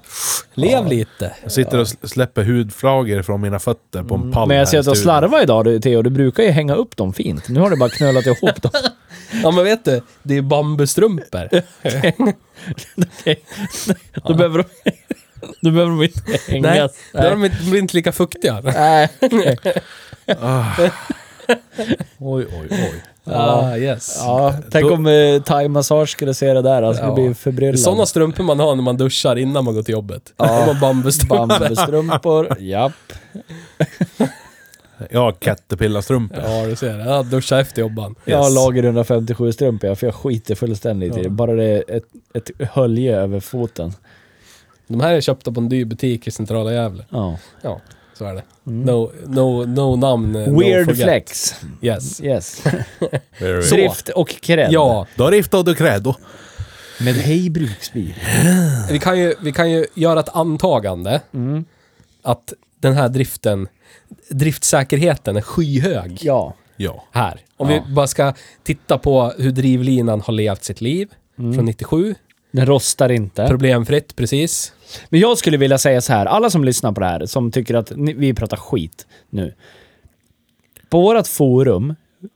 Lev lite.
Jag sitter och sl- släpper hudflagor från mina fötter på en pall
Mm. Men
här
jag ser
i
att du har
studion.
slarvat idag du, Theo. Du brukar ju hänga upp dem fint. Nu har du bara knölat ihop dem.
Ja men vet du, det är bambustrumpor.
Då behöver de, då behöver de inte
Nej,
hängas.
då är de inte, blir inte lika fuktiga.
Nej.
Oj, oj, oj.
Ah, yes.
Ja, tänk om eh, thaimassage skulle se det där. Alltså,
Ja.
Det blir
Det är
förbryllande.
sådana strumpor man har när man duschar innan man går till jobbet. Då har man bambustrumpor.
Bambustrumpor. Japp.
Jag har caterpillarstrumpor.
Ja, du ser. Ja, duscha efter jobban.
Jag har
Yes.
lager 157 strumpor för jag skiter fullständigt i det. Bara det är ett, ett hölje över foten.
De här är köpta på en dyr butik i centrala Gävle.
Ja. Mm.
Ja, så är det. No, no, no namn. eh,
Weird
no forget.
flex.
Yes.
Yes.
Very
Så.
Drift och cred.
Ja,
Då riftar du credo.
Med Hej Bruksbil.
vi kan ju, vi kan ju göra ett antagande
Mm.
att den här driften, driftsäkerheten är skyhög.
Ja.
Ja.
här. Om
Ja.
vi bara ska titta på hur drivlinan har levt sitt liv
Mm.
från 97.
Den rostar inte.
Problemfritt, precis.
Men jag skulle vilja säga så här, alla som lyssnar på det här, som tycker att ni, vi pratar skit nu. På vårt forum,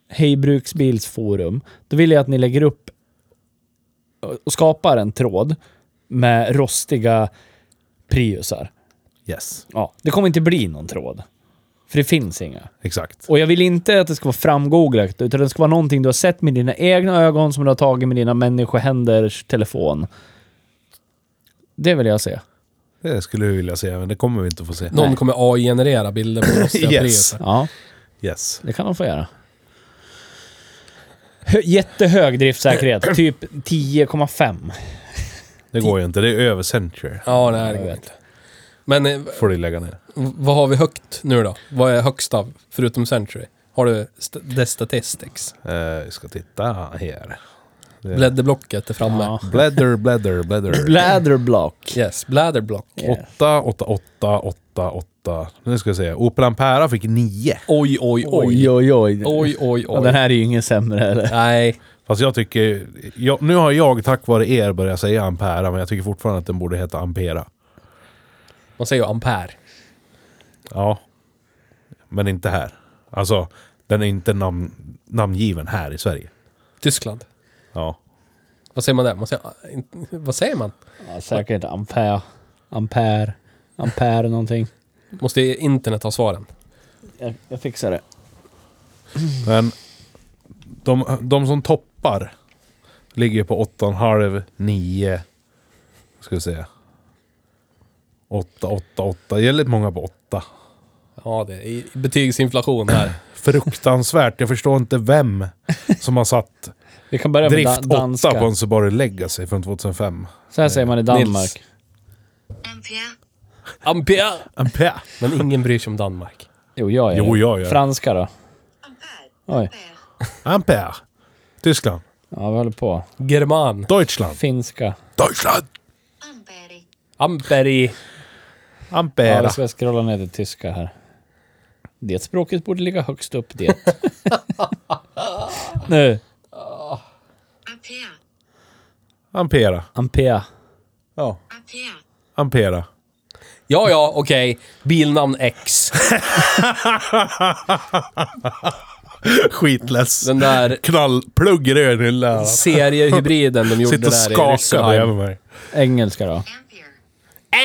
Hej Bruksbils forum, då vill jag att ni lägger upp och skapar en tråd med rostiga Priusar.
Yes.
Ja, det kommer inte bli någon tråd. För det finns inga.
Exakt.
Och jag vill inte att det ska vara framgooglat, utan det ska vara någonting du har sett med dina egna ögon som du har tagit med dina människohänders telefon. Det vill jag se.
Det skulle vi vilja se, men det kommer vi inte att få se.
Någon
Nej.
kommer AI-generera bilder på oss.
Yes.
Ja.
Yes.
Det kan de få göra. Hö- jättehög driftsäkerhet, typ 10,5.
Det går ju inte. Det är över century.
Ja, nej, det
Jag
går
vet.
inte. Men eh, v-
Får du lägga ner.
vad har vi högt nu då? Vad är högst av, förutom Century? Har du st- The Statistics?
Eh, Jag ska titta här. Det-
Blädderblocket är framme.
Ja.
Bladder, bladder, bladder.
Bläderblock.
Yes, blädderblock.
Yeah.
8, 8, 8, 8, 8. Nu ska vi se. Operan Pära fick 9.
Oj, oj, oj.
Oj, oj, oj.
Oj, oj,
Ja, den
oj.
här är ju ingen sämre eller?
Nej,
Fast jag tycker... Jag, nu har jag tack vare er börjat säga Ampera, men jag tycker fortfarande att den borde heta Ampera.
man säger ju ampere.
Ja. Men inte här. Alltså, den är inte namn, namngiven här i Sverige.
Tyskland.
Ja.
Vad säger man där? Man säger, ah, in- vad säger man?
Ja, säkert ampere. Ampere. Ampere någonting.
Måste ju internet ha svaren?
Jag, jag fixar det.
Men de, de som toppar ligger på 8,5, 9. Ska vi se. 8, 8, 8. Det är lite många på 8.
Ja, det är i- betygsinflation här.
Fruktansvärt. Jag förstår inte vem som har satt
Vi kan börja med
drift
da-
8 på
danska.
en Subaru Legacy från 2005.
Så här säger man i Danmark.
Nils. Ampere!
Ampere.
Men ingen bryr sig om Danmark.
Jo, jag är
Jo, jag gör det.
Franska då? Oj.
Ampere. Tyskland.
Ja, vi håller på.
German.
Deutschland.
Finska.
Deutschland.
Amperi.
Ampera.
Ja, vi ska scrolla ner till tyska här. Det språket borde ligga högst upp det. nu,
Ampere,
Ampera.
Ampea.
Ja.
Ampere,
Ampera.
Ja, ja, okej. Bilnamn X.
Skitless.
Den där
Knallplugg i den lilla.
seriehybriden de gjorde
Sitter och
där i
skakar
Ryssland.
bredvid mig.
Engelska då.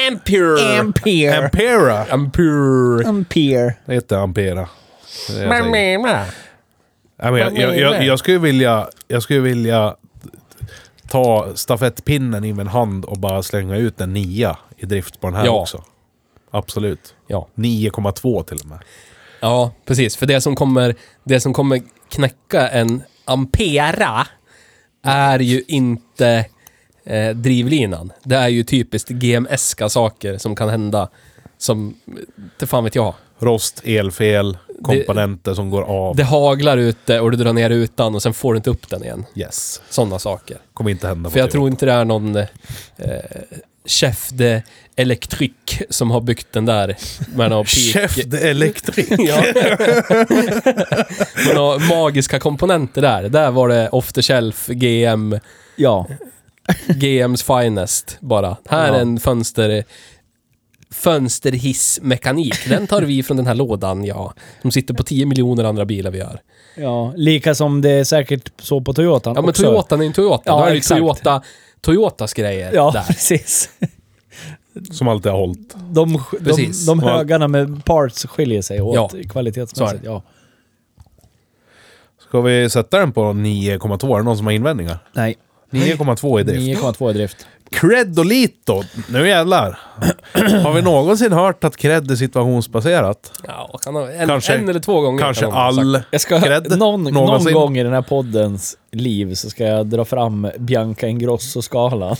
Ampere,
Ampere!
Ampere.
Ampera.
Ampere.
Ampere.
Det heter Ampera. Det är det jag tänker. Nej, men jag, jag, jag, jag, skulle vilja, jag skulle vilja ta stafettpinnen i min hand och bara slänga ut en nia i drift på den här
Ja.
också. Absolut.
Ja.
9,2 till och med.
ja, precis. För det som kommer, det som kommer knäcka en Ampera är ju inte eh, drivlinan. Det är ju typiskt GMS-ka saker som kan hända. Som, inte fan vet jag.
Rost, elfel, komponenter som går av.
Det haglar ute och du drar ner rutan och sen får du inte upp den igen.
Yes.
Sådana saker.
Kommer inte hända.
För
på
jag
Toyota.
tror inte det är någon eh, chef de elektrik som har byggt den där med någon peak.
Chef de elektrik.
Ja. med några magiska komponenter där. Där var det off the shelf, GM,
Ja.
GM's finest bara. Här
Ja.
är en fönster fönsterhissmekanik. Den tar vi från den här lådan, ja. Som sitter på 10 miljoner andra bilar vi gör.
ja. Lika som det är säkert så på Toyotan
Ja, men
också.
Toyotan är ju en Toyota.
Ja,
Då är det ju
exakt.
Toyota, Toyotas grejer
Ja,
där.
precis.
Som alltid har hållit.
De, de,
Precis.
de högarna med parts skiljer sig åt
Ja.
kvalitetsmässigt.
Så
Ja.
Ska vi sätta den på 9,2? Är det någon som har invändningar?
Nej.
9,2 i drift.
9,2 i drift.
Creddolito! Nu jävlar. Har vi någonsin hört att cred är situationsbaserat?
Ja, kan ha, en,
Kanske-
en eller två gånger.
Kanske
kan de ha sagt.
all
Jag ska,
cred
någon, någon
någonsin?
gång i den här poddens liv så ska jag dra fram Bianca Ingrosso-skalan.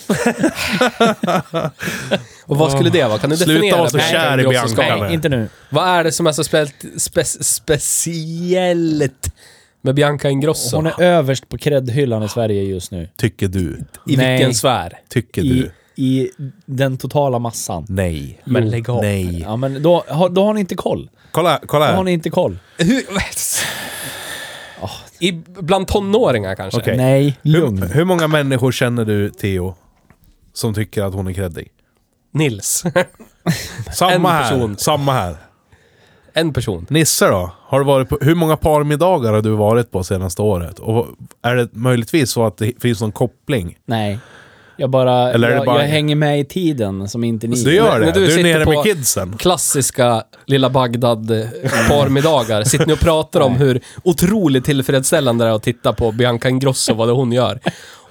Och vad skulle det vara? Kan du
Sluta
definiera?
vara så
Bianca
kär i
Ingrosso
Bianca.
skalan?
Nej.
Nej, inte nu.
Vad är det som är så spe- spe- speciellt med Bianca Ingrosso?
Hon är överst på kreddhyllan
Ah.
i Sverige just nu.
Tycker du?
I
Nej.
vilken sfär?
Tycker
I,
du?
I den totala massan.
Nej.
Men lägg av.
Nej. Äh.
Ja, men då, har- då har ni inte koll.
Kolla, kolla
Då har
här.
ni inte koll.
Hur, I, bland tonåringar kanske?
Okej.
Nej, lugn.
Hur, hur många människor känner du, Theo, som tycker att hon är creddig?
Nils.
Samma
En
här.
person.
Samma här.
en person.
Nisse då? Har du varit på, hur många parmiddagar har du varit på senaste året? Och är det möjligtvis så att det finns någon koppling?
Nej. Jag bara,
Eller är det
jag,
bara-
jag hänger med i tiden som inte ni
Du gör
När-
det?
när du
Du är
sitter
nere
på-
med kidsen?
Klassiska lilla Bagdad-parmiddagar. Sitter ni och pratar om hur otroligt tillfredsställande det är att titta på Bianca Ingrosso, vad det hon gör.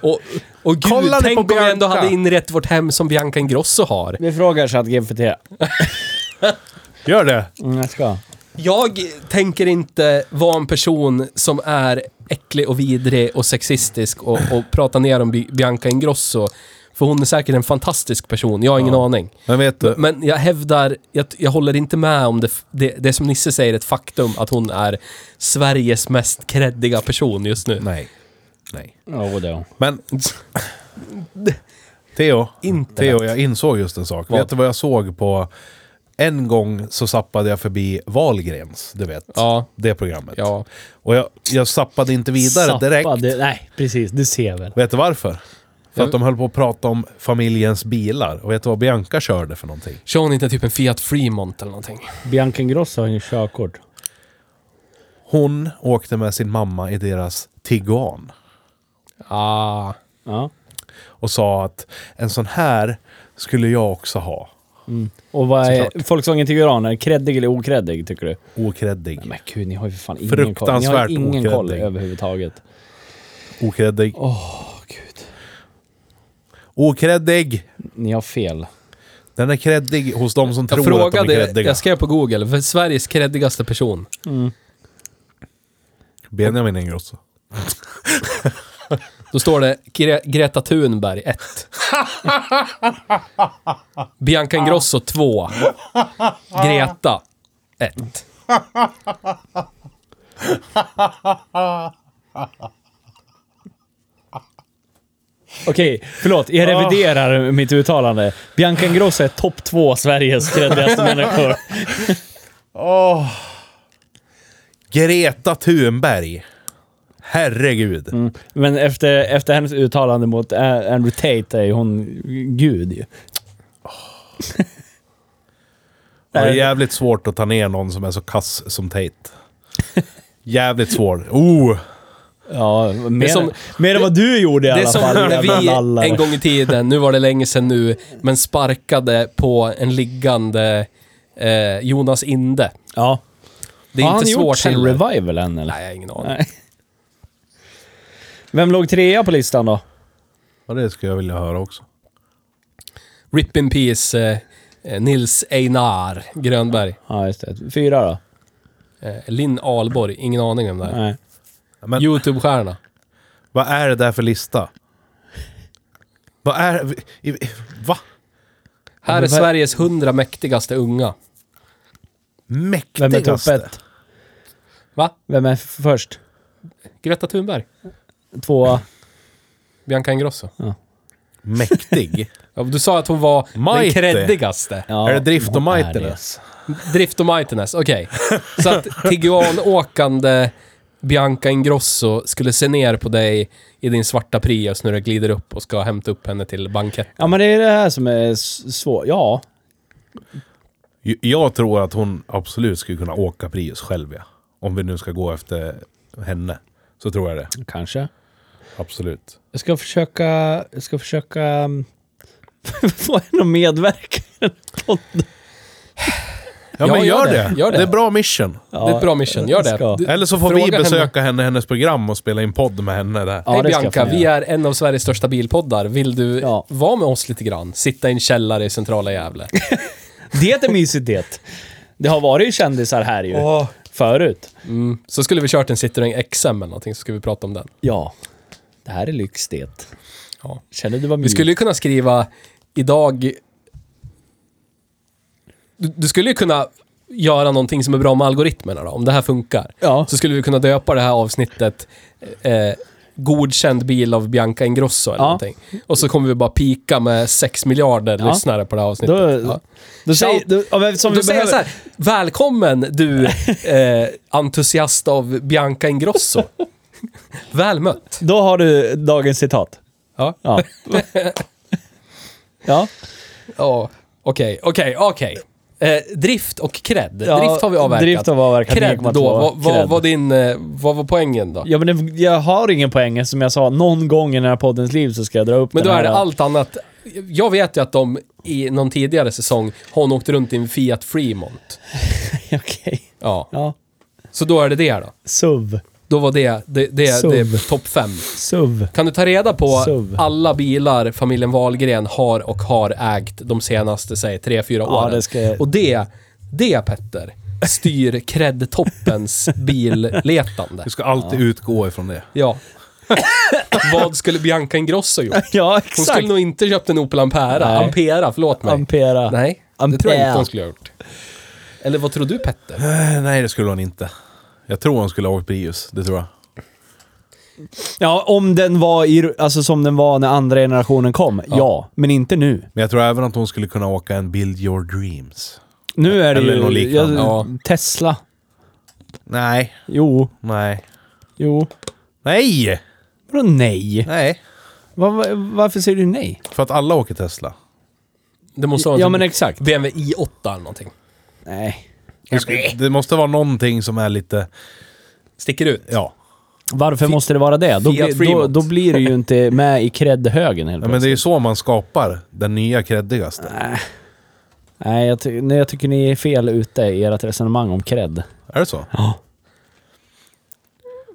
Och, och gud,
Kolla ni
tänk
på
om vi ändå
Bianca.
hade inrett vårt hem som Bianca Ingrosso har.
Vi frågar ChatGPT.
Gör det?
Mm, jag ska.
Jag tänker inte vara en person som är äcklig och vidrig och sexistisk och, och prata ner om Bi- Bianca Ingrosso. För hon är säkert en fantastisk person, jag har ingen aning.
Men vet du?
Men jag hävdar, jag, jag håller inte med om det, f- det, det som Nisse säger, ett faktum att hon är Sveriges mest kreddiga person just nu.
Nej. Nej.
Jo då.
Men... Theo,
Internet.
Theo, jag insåg just en sak.
Vad?
Vet du vad jag såg på... En gång så zappade jag förbi Wahlgrens, du vet.
Ja.
Det programmet.
Ja.
Och jag, jag zappade inte vidare direkt.
Zappade- Nej, precis. Du ser väl.
Vet du varför? För
Jag-
att de höll på att prata om familjens bilar. Och vet du vad Bianca körde för någonting?
Kör hon inte typ en Fiat Fremont eller någonting?
Bianca Ingrosso har ju körkort.
Hon åkte med sin mamma i deras Tiguan.
Ah.
Ja.
Och sa att en sån här skulle jag också ha.
Och vad är
Såklart.
Volkswagen Tiguran? Är den kreddig eller okreddig tycker du?
Okreddig.
Men gud, ni har ju för fan ingen koll. Ni har
Fruktansvärt
ju ingen koll
okreddig.
överhuvudtaget.
Okreddig.
Åh gud.
Okreddig!
Ni har fel.
Den är kreddig hos de som
Jag
tror att de är
frågade,
kreddiga.
jag skrev på Google, "För Sveriges kreddigaste person.
Benjamin Ingrosso.
Då står det Gre Greta Thunberg 1. Bianca Ingrosso 2. Greta 1.
Okej, förlåt. Jag reviderar mitt uttalande. Bianca Ingrosso är topp två Sveriges kreddigaste människor.
Greta Thunberg. Herregud.
Men efter, efter hennes uttalande mot eh, Andrew Tate är ju hon gud ju.
Det är
Nej.
jävligt svårt att ta ner någon som är så kass som Tate. Jävligt svår. Oh!
Ja, mer,
som-
mer än vad du gjorde i
Det är
alla
som
fall.
när
jävla
vi
nallare.
en gång i tiden, nu var det länge sedan nu, men sparkade på en liggande eh, Jonas Inde.
Ja.
Det är
Har
inte
han gjort
svårt
sin
heller.
revival än eller?
Nej, jag har ingen aning.
Nej. Vem låg trea på listan då?
Ja, det skulle jag vilja höra också.
Rip in peace, eh, eh, Nils Einar Grönberg.
Ja, just det. Fyra då?
Eh, Linn Ahlborg, ingen aning om det här.
Nej.
Men
Youtube-stjärna.
vad är det där för lista? Vad är... i- i- Va?
Här är
men vad-
Sveriges 100 mäktigaste unga.
Vem är
Mäktigaste?
topp ett?
Va?
Vem är f- först?
Greta Thunberg?
Tvåa?
Bianca Ingrosso?
Mäktig?
Ja, du sa att hon var den
Mighty.
creddigaste.
Ja,
är det Drift och
hon är
Mightiness?
Drift och Mightiness, okej. Så att Tiguan-åkande Bianca Ingrosso skulle se ner på dig i din svarta Prius när du glider upp och ska hämta upp henne till bankett.
Ja, men det är det här som är s- svårt. Ja.
J- Jag tror att hon absolut skulle kunna åka Prius själv, ja. Om vi nu ska gå efter henne. Så tror jag det.
Kanske.
Absolut.
Jag ska försöka... Jag ska försöka... mm, få henne att medverka i den här podden.
Ja,
Ja,
men
gör
gör,
det.
det.
Gör det.
Det är bra mission.
det är ett bra mission, gör det.
Ska.
Du-
Eller så får
fråga
vi
henne.
besöka henne i hennes program och spela in podd med henne där.
Ja,
Hej
det ska
Bianca,
jag fan
vi är en av Sveriges största bilpoddar. Vill du
Ja.
vara med oss lite grann? Sitta i en källare i centrala Gävle.
Det är mysigt det. Det har varit kändisar här ju. Förut.
Mm. Så skulle vi kört en Citroën XM eller någonting, så skulle vi prata om den.
Ja. Det här är lyx det.
Ja.
Känner du vad
Vi
mysigt?
skulle ju kunna skriva idag... Du, du skulle ju kunna göra någonting som är bra med algoritmerna då, om det här funkar.
Ja.
Så skulle vi kunna döpa det här avsnittet eh, Godkänd bil av Bianca Ingrosso eller
Ja.
någonting. Och så kommer vi bara pika med 6 miljarder
Ja.
lyssnare på det här avsnittet.
Då,
ja.
då säger, då, ja, men som
Då
vi
säger jag
behöver,
så här, välkommen du eh, entusiast av Bianca Ingrosso. Väl mött.
då har du dagens citat.
Ja.
Ja. ja.
Ja, okej, okej, okej. Eh, drift och cred.
Ja,
drift har vi avverkat.
drift har vi avverkat,
Cred
9,2.
då, vad, vad
Cred.
var din... eh, Vad var poängen då?
ja, men det, jag har ingen poäng. Som jag sa, någon gång i den här poddens liv så ska jag dra upp
Men då
den här.
är det allt annat. Jag vet ju att de i någon tidigare säsong har hon åkt runt i en Fiat Fremont.
Okej.
Ja.
Ja.
Så då är det det då.
SUV.
Då var det, det, det, det är topp fem.
SUV.
Kan du ta reda på
SUV.
alla bilar familjen Wahlgren har och har ägt de senaste, säg, tre, fyra
Ja,
åren?
det ska jag-
Och det, det Petter, styr cred-toppens billetande.
Vi ska alltid utgå ifrån det.
Ja. Vad skulle Bianca Ingrosso gjort?
Ja,
Hon
exakt.
skulle nog inte köpt en Opel Ampera.
Nej.
Ampera, förlåt mig.
Ampera.
Nej, det tror jag
Ampera.
inte hon skulle ha gjort. Eller vad tror du Petter?
Eh, Nej, det skulle hon inte. Jag tror hon skulle ha åkt Prius, det tror jag.
Ja, om den var i, alltså som den var när andra generationen kom. Ja. men inte nu.
Men jag tror även att hon skulle kunna åka en Build Your Dreams.
Nu är det
Eller något
ju... Jag,
liknande.
Ja.
Tesla.
Nej,
Jo,
nej.
jo.
Nej!
Vadå nej?
Nej.
Var, var, varför säger du nej?
För att alla åker Tesla.
Det måste vara
Ja,
en
men exakt.
BMW i8 eller någonting.
Nej.
Det, ska, det måste vara någonting som är lite...
Sticker ut.
Ja.
Varför måste det vara det? Då,
Fiat
blir- då,
Fremont.
då blir du ju inte med i cred-högen helt
ja men
plötsligt.
det är ju så man skapar den nya creddigaste.
Nej, jag, ty- nej, jag tycker ni är fel ute i ert resonemang om cred.
Är det så?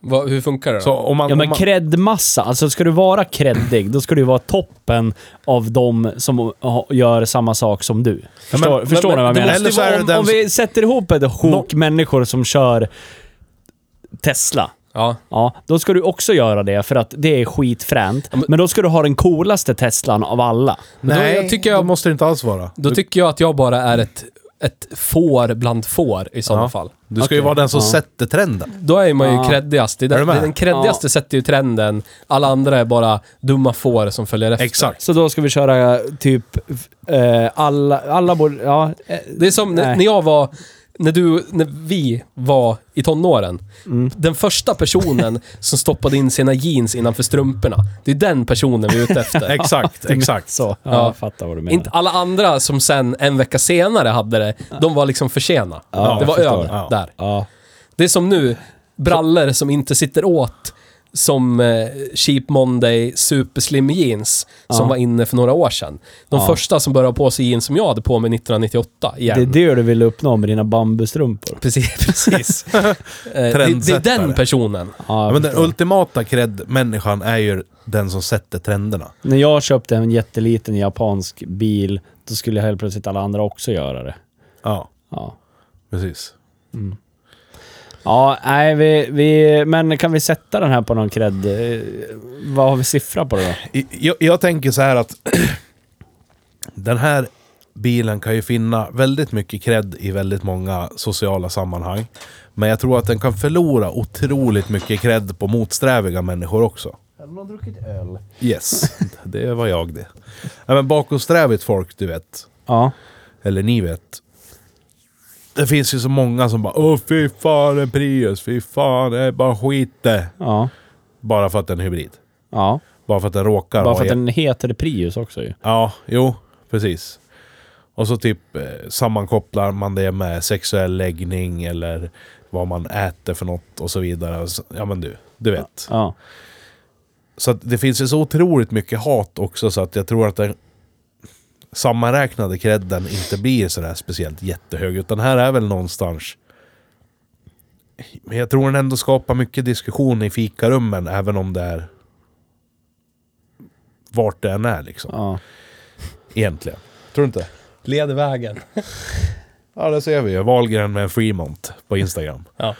Vad- hur funkar det då?
Så om man...
Ja,
om
men
man
cred-massa. Alltså, ska du vara creddig, då ska du ju vara toppen av de som ha- gör samma sak som du. Förstår,
men-
förstår
men-
ni vad jag
det
menar?
måste ju vara
om,
den
om
som-
vi sätter ihop ett sjok människor som kör Tesla.
Ja.
Ja, då ska du också göra det för att det är skitfränt. Men, då ska du ha den coolaste Teslan av alla.
då-
Nej,
jag tycker
då
jag-
måste det inte alls vara.
Då tycker jag att jag bara är ett, ett får bland får i sådana
Ja.
fall.
Du ska ju
Okej.
vara den som
Ja.
sätter trenden.
Då är man ju
Ja.
creddigast. Det är
Är du
den,
med?
den creddigaste sätter ju trenden. Alla andra är bara dumma får som följer efter.
Exakt.
Så då ska vi köra typ eh, alla... alla borde, ja, eh,
Det är som när-
Nej.
när jag var... när du, när vi var i tonåren.
Mm.
Den första personen som stoppade in sina jeans innanför strumporna. Det är den personen vi är ute efter.
Exakt, exakt.
Så, ja,
Ja.
jag fattar vad du menar.
Inte alla andra som sen en vecka senare hade det, de var liksom för sena.
Ja,
det var
jag
över
förstår.
Ja.
där.
Ja.
Det är som nu, brallor som inte sitter åt som eh, Cheap Monday Super Slim Jeans som
Ja.
var inne för några år sedan. De
Ja.
första som började ha på sig jeans som jag hade på mig 1998 igen.
Det är det du vill uppnå med dina bambustrumpor.
Precis, precis. Eh, det, det är den
Trendsättare.
personen.
Ja,
Ja,
jag
men den
förstår.
ultimata cred-människan är ju den som sätter trenderna.
När jag köpte en jätteliten japansk bil, då skulle jag helt plötsligt alla andra också göra det.
Ja,
Ja.
precis.
Ja, nej, vi, vi, men kan vi sätta den här på någon cred? Eh, Vad har vi siffra på det då?
I- Jag, jag tänker så här att den här bilen kan ju finna väldigt mycket cred i väldigt många sociala sammanhang. Men jag tror att den kan förlora otroligt mycket cred på motsträviga människor också. Även har druckit öl. Yes, det var jag det. Nej, men bakåtsträvigt folk, du vet.
Ja.
Eller ni vet. Det finns ju så många som bara Åh fy fan en Prius, fy fan det är bara skit det.
Ja.
Bara för att den är hybrid.
Ja.
Bara för att den råkar
Bara
ha
för att
el.
den heter Prius också ju.
Ja, jo, precis. Och så typ eh, sammankopplar man det med sexuell läggning eller vad man äter för något och så vidare. Så- Ja men du, du vet.
Ja.
Så att det finns ju så otroligt mycket hat också så att jag tror att den sammanräknade credden inte blir sådär speciellt jättehög. Utan här är väl någonstans... Men jag tror den ändå skapar mycket diskussion i fikarummen även om det är vart det än är liksom.
Ja.
Egentligen. Tror du inte?
Led vägen.
Ja, det ser vi ju. Wahlgren med en Fremont på Instagram.
Ja.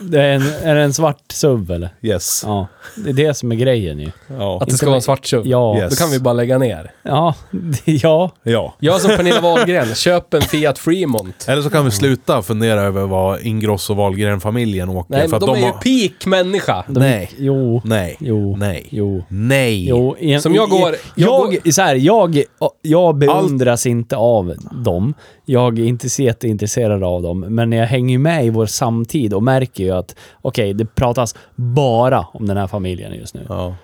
Det är, en, är det en svart SUV eller?
Yes.
Ja. Det är det som är grejen ju.
Ja.
Att det ska vara en svart tjuv.
Ja.
Yes.
Då kan vi bara lägga ner.
Ja. Ja.
ja.
Jag som Pernilla Wahlgren, köp en Fiat Fremont.
Eller så kan vi sluta fundera över vad Ingrosso och Wahlgren-familjen åker.
Nej, men
att
de, är ju
har-
peak människa.
De,
Nej.
Jo.
Nej.
Jo.
Nej.
Jo.
Nej.
Jo, en,
Som jag går- jag
Jag,
går-
så här, jag, jag beundras inte av dem. Jag är inte så jätteintresserad av dem. Men jag hänger ju med i vår samtid och märker ju att okej, det pratas bara om den här familjen just nu.
Ja.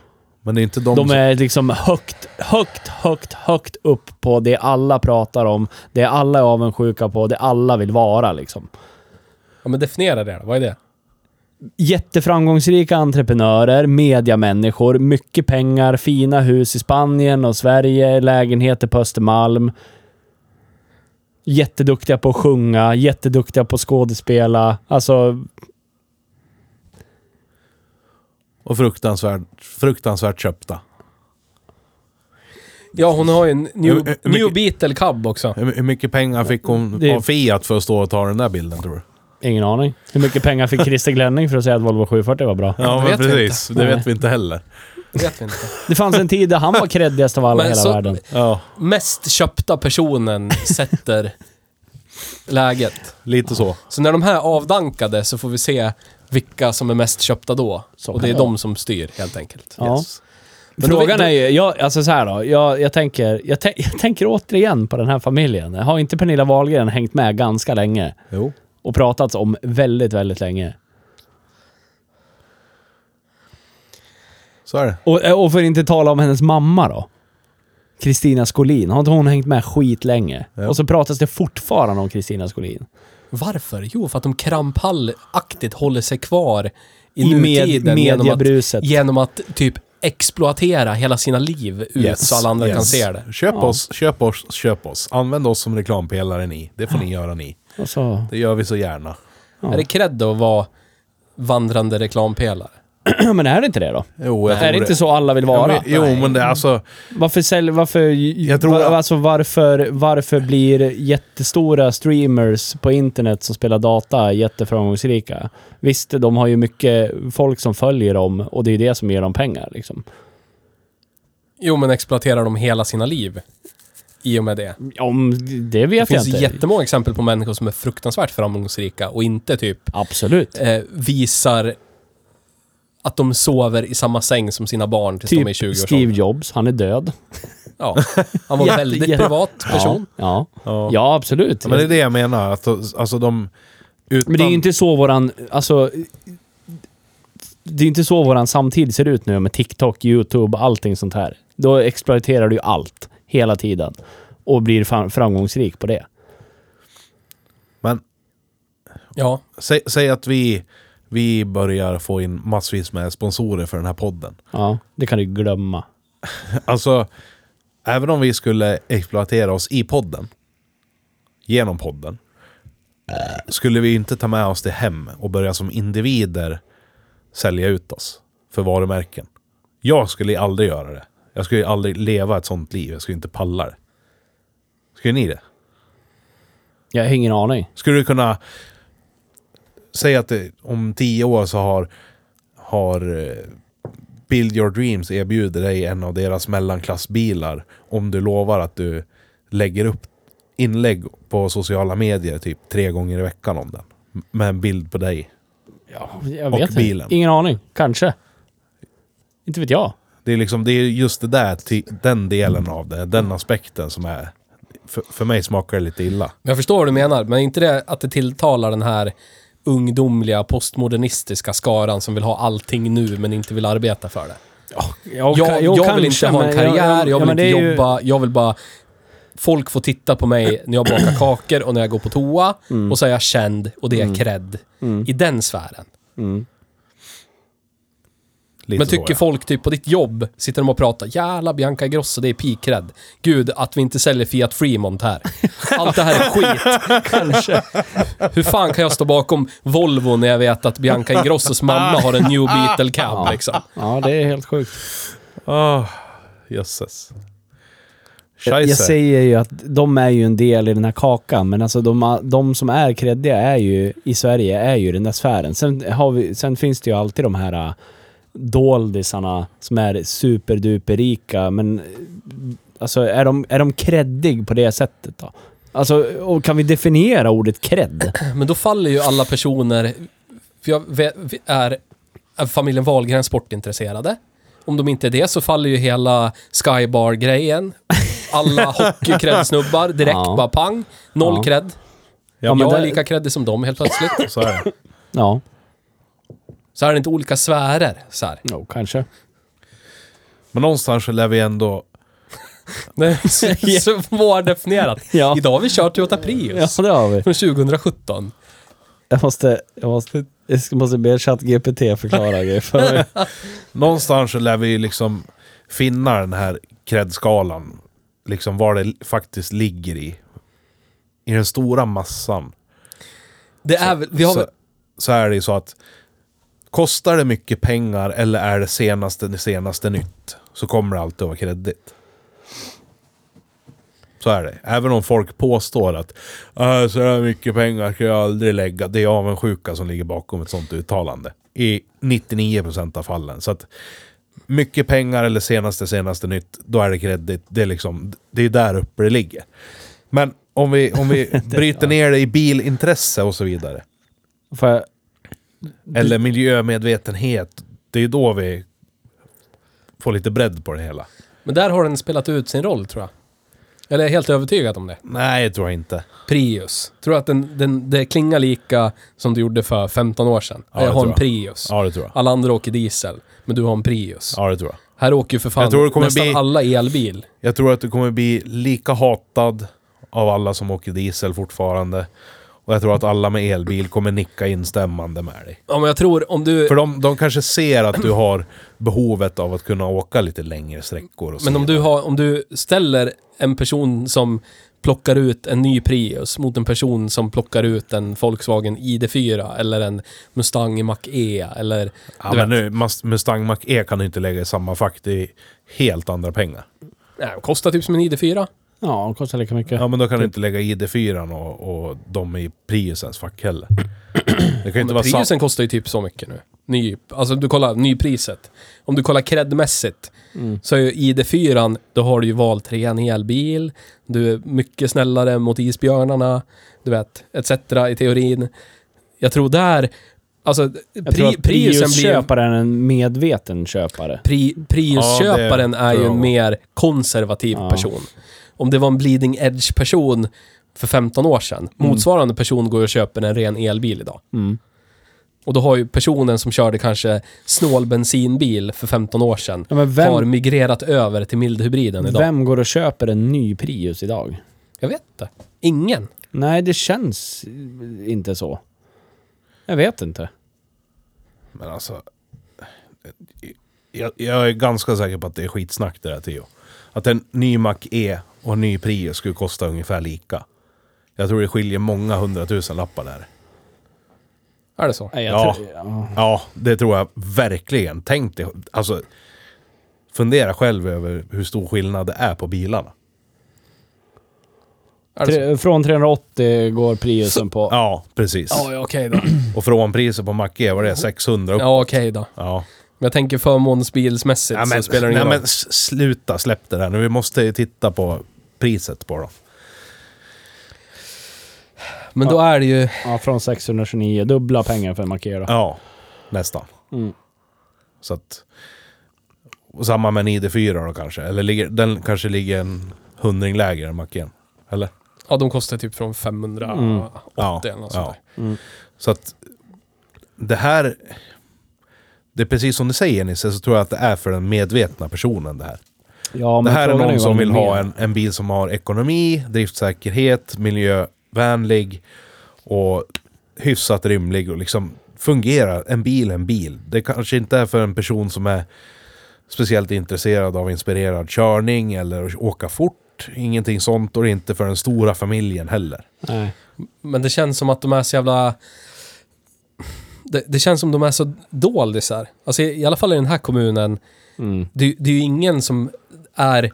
Men det är inte de,
De
som...
är liksom högt, högt, högt, högt upp på det alla pratar om, det alla är avundsjuka på, det alla vill vara liksom.
Ja, men definiera det då. Vad är det?
jätteframgångsrika entreprenörer, mediamänniskor, mycket pengar, fina hus i Spanien och Sverige, lägenheter på Östermalm. Jätteduktiga på att sjunga, jätteduktiga på att skådespela. Alltså,
Och fruktansvärt, fruktansvärt köpta.
Ja, hon har ju en
Hur-
New,
hur
new
mycket-
Beetle Cub också.
Hur, hur mycket pengar fick hon
Det-
av Fiat för att stå och ta den där bilden, tror du?
ingen aning. Hur mycket pengar fick Christer Glenning för att säga att Volvo 740 var bra?
Ja,
det
men
vet vi
precis. Det
Nej.
vet vi inte heller.
Det vet vi inte.
Det fanns en tid där han var creddigast av alla i
Men
hela
så-
världen.
Ja,
Mest köpta personen sätter läget.
lite så.
Så när de här avdankade så får vi se vilka som är mest köpta då.
Så
Och det är
kan
de som styr helt enkelt.
Ja.
Yes.
Men då-
Frågan
då-
är ju, jag, alltså så här då, jag, jag, tänker, jag, tän- jag tänker återigen på den här familjen. Har inte Pernilla Wahlgren hängt med ganska länge?
Jo.
och pratats om väldigt, väldigt länge.
Så är det.
Och, och för att inte tala om hennes mamma då. Kristina Skolin. Har inte hon hängt med skitlänge?
Ja.
Och så pratas det fortfarande om Kristina Skolin.
Varför? Jo, för att de krampaktigt håller sig kvar i,
I med-
nutiden genom att,
mediebruset.
genom att typ exploatera hela sina liv ut så alla andra
yes.
kan se det.
Köp oss, köp oss, köp oss. Använd oss som reklampelare ni. Det får ni göra ni.
Och så...
Det gör vi så gärna.
Ja.
Är det cred att vara vandrande reklampelare?
men är det inte det då?
Jo, jag tror
Är det inte så alla vill
Ja,
vara?
men, jo, men det är alltså...
Varför säljer... Varför...
Jag tror
va-
att-
alltså varför, varför blir jättestora streamers på internet som spelar data jätteframgångsrika? Visst, de har ju mycket folk som följer dem och det är det som ger dem pengar liksom.
Jo, men exploaterar de hela sina liv i och med det?
Om, det vet
Det finns
jag inte.
jättemånga exempel på människor som är fruktansvärt framgångsrika och inte typ
Absolut.
eh, visar att de sover i samma säng som sina barn tills de är i
Typ
20 års
Steve Jobs, han är död.
Ja. Han var en
Jätte-
väldigt
jätte-
privat person.
Ja, ja.
Ja.
ja absolut.
Ja, Men det är det jag menar. Att, alltså de... Utan,
Men det är ju inte så våran, alltså... Det är inte så våran samtid ser ut nu med TikTok, YouTube, allting sånt här. Då exploaterar du ju allt, hela tiden. Och blir fram- framgångsrik på det.
Men
Ja.
säg, säg att vi, vi börjar få in massvis med sponsorer för den här podden.
Ja, det kan du glömma.
Alltså, även om vi skulle exploatera oss i podden, genom podden, skulle vi inte ta med oss det hem och börja som individer sälja ut oss för varumärken. Jag skulle aldrig göra det. Jag skulle aldrig leva ett sånt liv. Jag skulle inte palla det. Skulle ni det?
Jag har ingen aning.
Skulle du kunna säga att det, om tio år så har, har eh, Build Your Dreams erbjuder dig en av deras mellanklassbilar om du lovar att du lägger upp inlägg på sociala medier typ tre gånger i veckan om den. M- Med en bild på dig.
Jag
Och
vet inte.
bilen.
Ingen aning. Kanske. Inte vet jag.
Det är liksom, det är just det där, ti- den delen av det, den aspekten som är... För, för mig smakar det lite illa.
Men jag förstår vad du menar, men är inte det att det tilltalar den här ungdomliga, postmodernistiska skaran som vill ha allting nu men inte vill arbeta för det?
Jag,
Jag, jag, vill
kanske,
inte ha en
men
karriär, jag,
ja,
vill
men det är
inte
ju-
jobba, jag vill bara... Folk får titta på mig när jag bakar kakor och när jag går på toa
Mm.
och så är jag känd och det är cred. I den sfären.
lite
Men
så,
tycker
ja.
folk typ på ditt jobb, sitter de och pratar “Jävla Bianca Ingrosso, det är pikrädd. Gud, att vi inte säljer Fiat Fremont här. Allt det här är skit. Kanske. Hur fan kan jag stå bakom Volvo när jag vet att Bianca Ingrossos mamma har en New Beetle Cab liksom?
Ja, det är helt sjukt.
Ah, jösses.
Jag, jag
Scheisse.
säger ju att de är ju en del i den här kakan, men alltså de, de som är kreddiga är ju, i Sverige är ju den där sfären. Sen, har vi, sen finns det ju alltid de här äh, doldisarna som är superduperrika, men äh, alltså är de, är de kreddig på det sättet då? Alltså, och kan vi definiera ordet kredd?
Men då faller ju alla personer... För jag vet, vi är, är familjen Wahlgren sportintresserade? Om de inte är det så faller ju hela Skybar-grejen. Alla hockeycred-snubbar direkt
Ja.
bara pang.
Ja.
Noll cred.
Ja, men
jag är
det-
lika creddig som dem helt plötsligt.
Så är det.
Ja,
Så är det inte olika sfärer. Så här.
jo, kanske.
Men någonstans så lär vi ändå...
Det är så svårdefinierat.
Ja.
Idag har vi kört Toyota Prius.
Ja, det har vi.
Från 2017.
Jag måste, jag måste, jag ska- måste be ChatGPT förklara grejer för mig.
Någonstans så lär vi liksom finna den här kreddskalan. Liksom vad det faktiskt ligger i. I den stora massan.
Det är väl, vi har
så,
väl,
så är det ju så att kostar det mycket pengar eller är det senaste, det senaste nytt så kommer det alltid att vara kreddigt. Så är det. Även om folk påstår att "Äh, så här mycket pengar ska jag aldrig lägga. Det är avundsjuka som ligger bakom ett sånt uttalande. I 99% av fallen. Så att mycket pengar eller senaste, senaste nytt, då är det kreddigt. Det är liksom, det är där uppe det ligger. Men om vi, om vi bryter ner det i bilintresse och så vidare.
Får jag,
Eller miljömedvetenhet. Det är då vi får lite bredd på det hela.
men där har den spelat ut sin roll tror jag. Eller jag är helt övertygad om det.
Nej, det tror jag inte.
Prius. Tror du att den, den, det klingar lika som du gjorde för 15 år sedan?
Ja,
jag har
det tror
en
jag.
Prius.
Ja, det tror jag.
Alla andra åker diesel, men du har en Prius.
Ja, det tror jag.
Här åker ju för fan
Jag tror det kommer
nästan
bli-
alla elbil.
Jag tror att du kommer bli lika hatad av alla som åker diesel fortfarande. Och jag tror att alla med elbil kommer nicka instämmande med dig.
Ja, men jag tror om du...
För de, de kanske ser att du har behovet av att kunna åka lite längre sträckor. Och så
Men om
vidare.
du, har, om du ställer en person som plockar ut en ny Prius mot en person som plockar ut en Volkswagen ID4 eller en Mustang Mach-E eller...
Ja,
du
men
vet,
nu, Mas- Mustang Mach-E kan du inte lägga i samma fack. Det är helt andra pengar.
nej, den kostar typ som en ID4.
ja, de kostar lika mycket.
Ja, men då kan du inte lägga ID4 och, och de i Priusens fack heller. Det kan ju inte
Men
vara
Priusen
sant.
kostar ju typ så mycket nu. Ny, alltså du kollar nypriset. Om du kollar credmässigt
Mm.
så är ju ID4, då har du ju valt ren elbil, du är mycket snällare mot isbjörnarna, du vet, etc. i teorin. Jag tror där, Alltså,
Jag tror
pri,
att
Priusen blir...
Prius-köparen är en medveten köpare.
Pri, Priusköparen
Ja, det
är ju
tror jag.
en mer konservativ
Ja.
person. Om det var en bleeding edge-person för 15 år sedan, motsvarande person går och köper en ren elbil idag.
Mm.
Och då har ju personen som körde kanske snål bensinbil för 15 år sedan,
Ja, men vem-
har migrerat över till mildhybriden idag.
Vem går och köper en ny Prius idag?
Jag vet inte. Ingen.
Nej, det känns inte så. Jag vet inte.
Men alltså... Jag, jag är ganska säker på att det är skitsnack det där Theo. Att en ny Mac E och en ny Prius skulle kosta ungefär lika. Jag tror det skiljer många hundratusen lappar där.
Är det så?
Nej, jag
Ja.
tror- ja.
Ja, det tror jag verkligen. Tänk dig, alltså... Fundera själv över hur stor skillnad det är på bilarna.
Är det så?
Tre, från 380 går Priusen på.
Ja, precis.
Ja, ja, okej då.
Och frånpriset på Mac E, var det 600 upp?
Ja, okej då.
Ja.
Men jag tänker förmånsbilsmässigt
Ja,
så
men,
spelar det ingen
nej,
roll.
men s- sluta, släpp det där nu. Vi måste ju titta på priset på dem.
Men då är det ju...
Ja, från 629. Dubbla pengar för en Makera.
Ja, nästan.
Mm.
Så att... Och samma med en ID4 då kanske. Eller ligger, den kanske ligger en hundring lägre än Macken. Eller?
Ja, de kostar typ från 580
Mm.
Ja,
eller något
ja.
sånt där. Mm.
Så att... Det här... Det är precis som du säger Nisse, så tror jag att det är för den medvetna personen det här.
Ja,
det här är
frågan
någon
vad
som
de
vill ha
menar.
en, en bil som har ekonomi, driftsäkerhet, miljövänlig och hyfsat rimlig och liksom fungerar. En bil är en bil. Det kanske inte är för en person som är speciellt intresserad av inspirerad körning eller att åka fort. Ingenting sånt och det är inte för den stora familjen heller.
Nej.
Men det känns som att de är så jävla... Det, det känns som de är så doldisar. Alltså i, i alla fall i den här kommunen.
Mm.
Det, det är ju ingen som är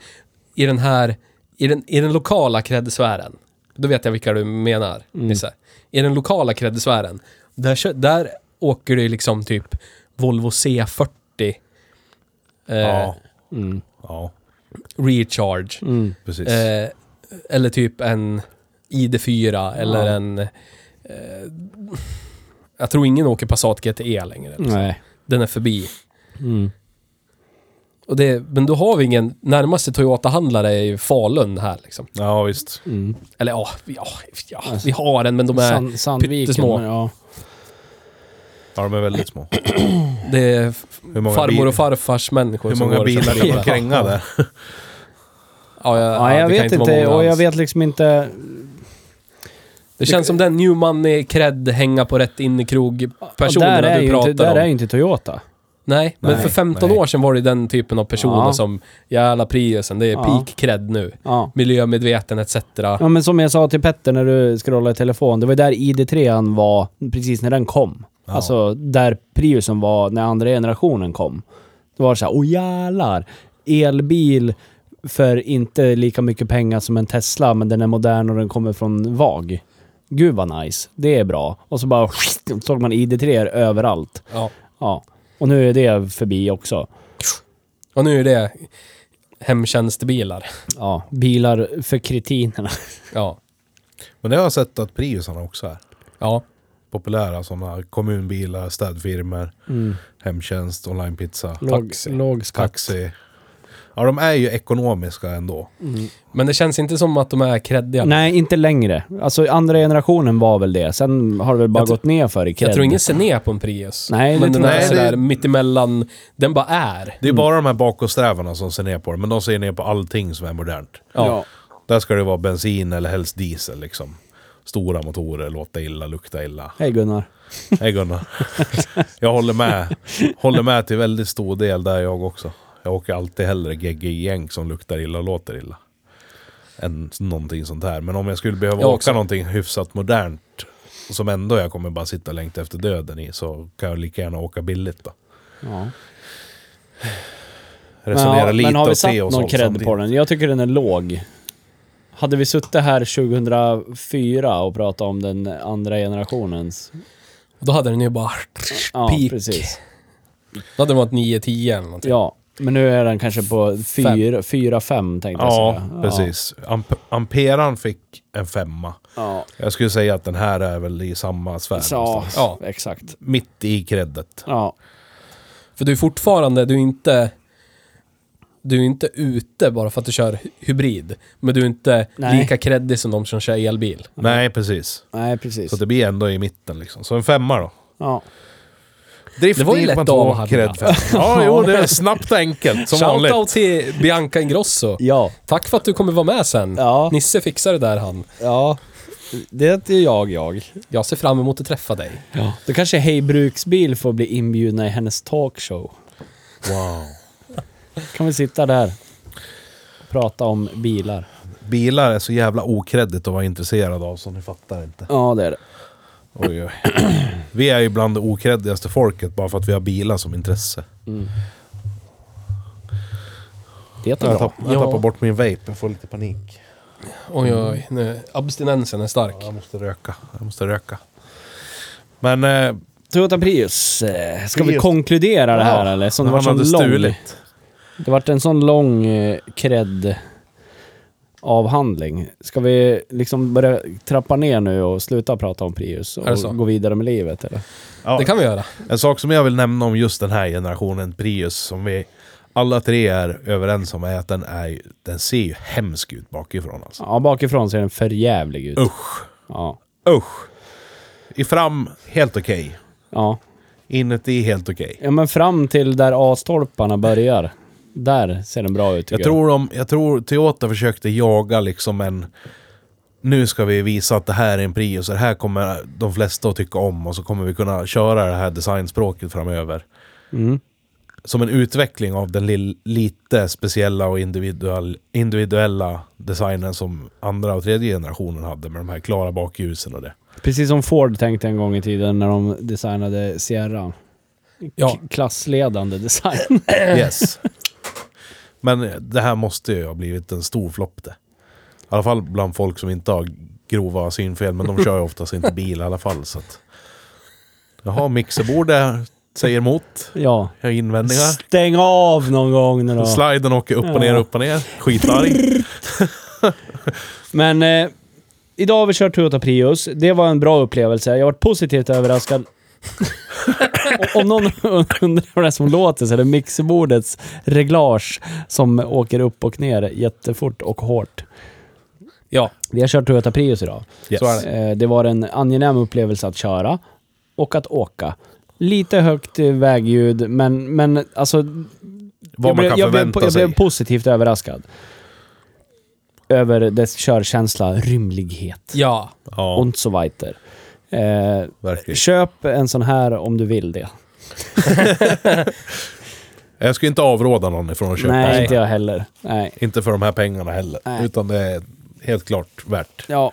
i den här... I den, i den lokala kreddsfären. Då vet jag vilka du menar,
Mm.
Nisse. I den lokala kreddsfären. Där, kö- där åker du liksom typ Volvo C40. Eh,
Ja,
Mm.
ja
Recharge.
Mm.
precis.
Eh, eller typ en ID4 eller
Ja.
en... Eh, jag tror ingen åker Passat GTE längre.
Nej.
Den är förbi.
Mm.
Och det, men då har vi ingen... Närmaste Toyota-handlare är ju Falun här liksom.
Ja, visst.
Mm.
Eller ja, ja, ja
Alltså.
vi har en men de är...
Sand- Sandviken,
pyttesmå.
men ja.
Ja, de är väldigt små.
Det är f-
Hur många,
farmor
bil-
och farfars människor
hur
som
många
går och
bilar
köper
kan man kränga där?
Ja, ja,
ja,
ja,
jag
det kan
vet
vara
inte.
många
Och jag
alls.
vet liksom inte.
Det känns som den new money cred hänga på rätt in i
där
krog-personerna
är
du
ju
pratar
inte, där
om.
är ju inte Toyota.
Nej, men
Nej,
för 15
nej.
år sedan var det den typen av personer
Ja.
som jävla priusen, det är
Ja.
peak cred nu.
Ja.
Miljömedveten etc.
Ja men som jag sa till Petter när du scrollade i telefon, det var ju där ID3 var precis när den kom. Alltså där Priusen var när andra generationen kom. Då var det såhär, åh jävlar! Elbil för inte lika mycket pengar som en Tesla, men den är modern och den kommer från VAG. Gud vad nice, det är bra. Och så bara såg man ID3 överallt.
Ja.
Ja. Och nu är det förbi också.
Och nu är det hemtjänstbilar.
Ja, bilar för kretinerna.
Ja.
Men det har jag sett att Priusarna också är.
Ja.
populära sådana kommunbilar, städfirmor, hemtjänst, onlinepizza,
Låg,
Taxi.
låg skatt.
taxi. Ja, de är ju ekonomiska ändå.
Men det känns inte som att de är creddiga.
Nej, inte längre. Alltså andra generationen var väl det. Sen har det väl bara
Jag tr-
gått ner för i cred.
Jag tror ingen ser ner på en Prius.
Nej, det
men den
tror
är
jag
sådär
inte.
mittemellan, den bara är.
Det är bara de här bakåtsträvarna som ser ner på det, men de ser ner på allting som är modernt.
Ja.
Där ska det vara bensin eller helst diesel liksom. Stora motorer, låta illa, lukta illa.
Hej Gunnar.
Hej Gunnar. Jag håller med. Håller med till väldigt stor del där jag också. Jag åker alltid hellre GG-gäng som luktar illa och låter illa. Än någonting sånt här. Men om jag skulle behöva
Jag
åka
också.
någonting hyfsat modernt. Som ändå jag kommer bara sitta längt efter döden i. Så kan jag lika gärna åka billigt då.
Ja. Men,
Resonera
ja,
lite
men har vi
och
satt
se och
någon
sånt
cred på
samtidigt.
den? Jag tycker den är låg. Hade vi suttit här 2004 och pratat om den andra generationens...
Då hade den ju bara...
Ja,
Peak.
precis.
Då hade den varit 9-10 eller någonting.
Ja. Men nu är den kanske på 4-5 tänkte jag
Ja,
säga.
precis. Amp amperan fick en femma.
Ja,
Jag skulle säga att den här är väl i samma sfär.
ja.
någonstans.
ja exakt.
Mitt i creddet.
Ja.
För du är fortfarande, du är inte... Du är inte ute bara för att du kör hy- hybrid. Men du är inte
Nej.
lika kreddig som de som kör elbil.
Nej, precis.
Nej, precis.
Så det blir ändå i mitten liksom. Så en femma då.
Ja.
Drift
Det var ju
9,2,
lätt av att
cred
hade.
fem. Ja, jo, det är snabbt och enkelt. Som vanligt.
Shoutout till Bianca Ingrosso.
Ja.
Tack för att du kommer vara med sen.
Ja.
Nisse fixar det där han.
ja. Det är jag, jag.
Jag ser fram emot att träffa dig.
Ja. Då kanske Hej Bruksbil får bli inbjudna i hennes talkshow.
Wow.
Kan vi sitta där och prata om bilar.
Bilar är så jävla okreddigt att vara intresserad av så ni fattar inte.
Ja, det är det.
Oj, oj. Vi är ju bland det okreddigaste folket bara för att vi har bilar som intresse.
Det är bra.
Jag, tapp, jag
Ja.
tappar bort min vape, jag får lite panik.
Oj, oj, nu. Abstinensen är stark.
Jag måste röka, jag måste röka. Men... Eh,
Toyota Prius. eh, Ska vi
Prius.
konkludera det här
Ja.
eller? Som det var
han
så
hade
lång...
stulit.
Det vart en sån lång eh, cred avhandling. Ska vi liksom börja trappa ner nu och sluta prata om Prius
Är det så?
och gå vidare med livet eller?
Ja.
Det kan vi göra.
En sak som jag vill nämna om just den här generationen Prius som vi alla tre är överens om är att den, är, ju- den ser ju hemsk ut bakifrån alltså.
Ja, bakifrån ser den för jävlig ut.
Usch!
Ja.
Usch! I fram, helt okej.
Ja.
Inuti, helt okej.
ja, men fram till där A-stolparna börjar. Där ser den bra ut tycker
Jag tror, de, jag tror Toyota försökte jaga liksom en... Nu ska vi visa att det här är en Prius och det här kommer de flesta att tycka om och så kommer vi kunna köra det här designspråket framöver.
Mm.
Som en utveckling av den lill- lite speciella och individuell, individuella designen som andra och tredje generationen hade med de här klara bakljusen och det.
Precis som Ford tänkte en gång i tiden när de designade Sierra.
Ja.
Klassledande design.
Yes. Men det här måste ju ha blivit en stor flopp det. I alla fall bland folk som inte har grova synfel, men de kör ju oftast inte bil i alla fall. Så att... Jaha, mixerbordet säger emot.
ja.
Jag har invändningar.
Stäng av någon gång nu då.
Sliden åker upp och ner, upp och ner. Skitarg.
Men eh, idag har vi kört Toyota Prius. Det var en bra upplevelse. Jag har varit positivt överraskad. Och Om någon undrar vad det är som låter så är det mixerbordets reglage som åker upp och ner jättefort och hårt.
Ja.
Vi har kört Toyota Prius idag.
Yes. Så är det.
Eh, Det var en angenäm upplevelse att köra och att åka. Lite högt eh, vägljud, men, men alltså...
Vad
jag
man
blev,
kan
jag blev,
förvänta
jag
sig.
blev positivt överraskad. Över dess körkänsla, rymlighet
Ja.
Ja,
und so weiter. Eh,
verkligen.
köp en sån här om du vill det.
Jag skulle inte avråda någon ifrån att köpa.
Nej,
en
inte
sån här.
jag heller. Nej.
inte för de här pengarna heller.
Nej.
Utan det är helt klart värt.
Ja.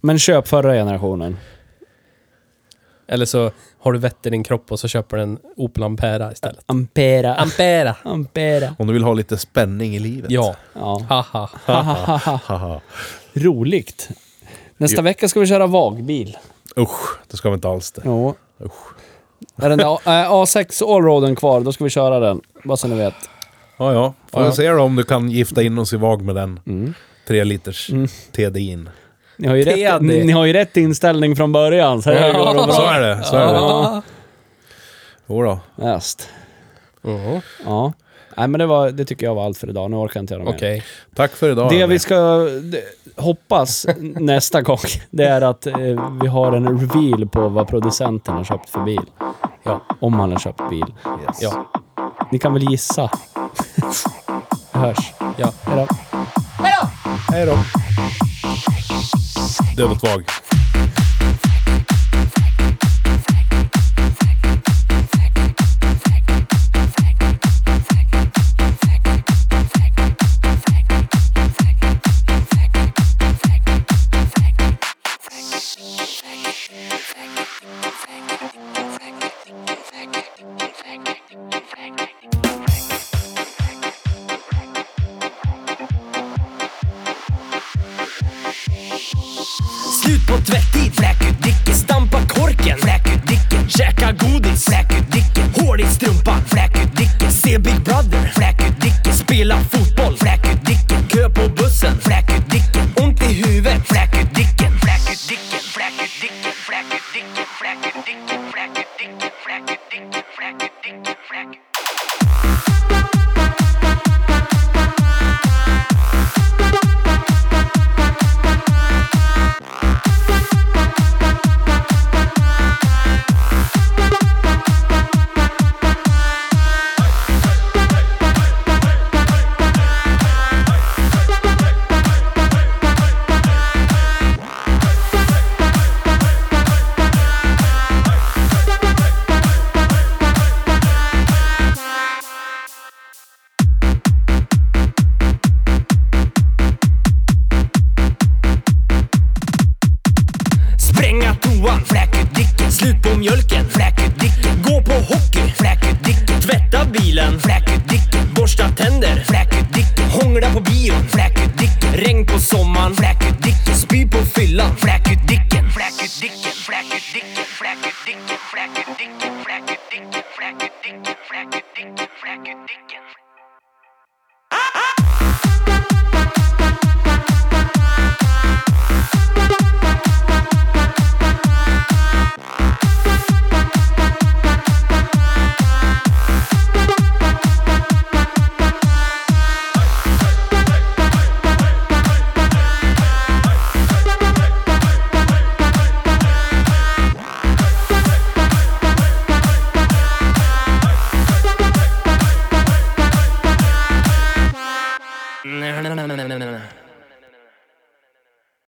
Men köp förra generationen.
Eller så har du vett i din kropp och så köper du en Opel Ampera istället.
Ampera.
Ampera!
Ampera.
Om du vill ha lite spänning i livet.
Ja.
Ja.
Haha.
Haha.
Roligt. Nästa vecka ska vi köra vagbil.
Usch, det ska vi inte alls det.
Jo. Är den där, eh, A6 Allroaden kvar, då ska vi köra den. Bara så ni vet.
Ja, ja. Får jag se då om du kan gifta in oss i VAG med den. Tre liters TDIn.
Ni har ju, rätt,
Teddy.
ni, ni har ju rätt inställning från början. Så det går
Så
bra.
är det. Så är det. Jo då.
Just.
Mhm.
Ja. Nej, men det, var, det tycker jag var allt för idag. Nu orkar jag inte göra mer.
Okej.
Tack för idag.
Det
hörni.
vi ska d- hoppas nästa gång, det är att eh, vi har en reveal på vad producenten har köpt för bil.
Ja.
Om han har köpt bil.
Ja.
Ni kan väl gissa? Vi hörs.
Ja.
Hejdå.
Hej då. Dödet VAG.
Slut på tvättid, vräk ut dicken, stampa korken, vräk ut dicken, käka godis, vräk ut dicken, hål i strumpan, vräk ut dicken, se Big Brother,
mjölken. Fläk ut dicken. Gå på hockey. Fläk ut dicken. Tvätta bilen. Fläk ut dicken. Borsta tänder. Fläk ut dicken. Hångla på bion. Fläk ut dicken. Regn på sommaren. Fläk ut dicken. Spy på fyllan. Fläk ut dicken. Fläk ut dicken. Fläk ut dicken. Fläk ut dicken. Fläk ut dicken. Fläk ut dicken. Fläk ut dicken. Fläk ut dicken. Fläk ut dicken.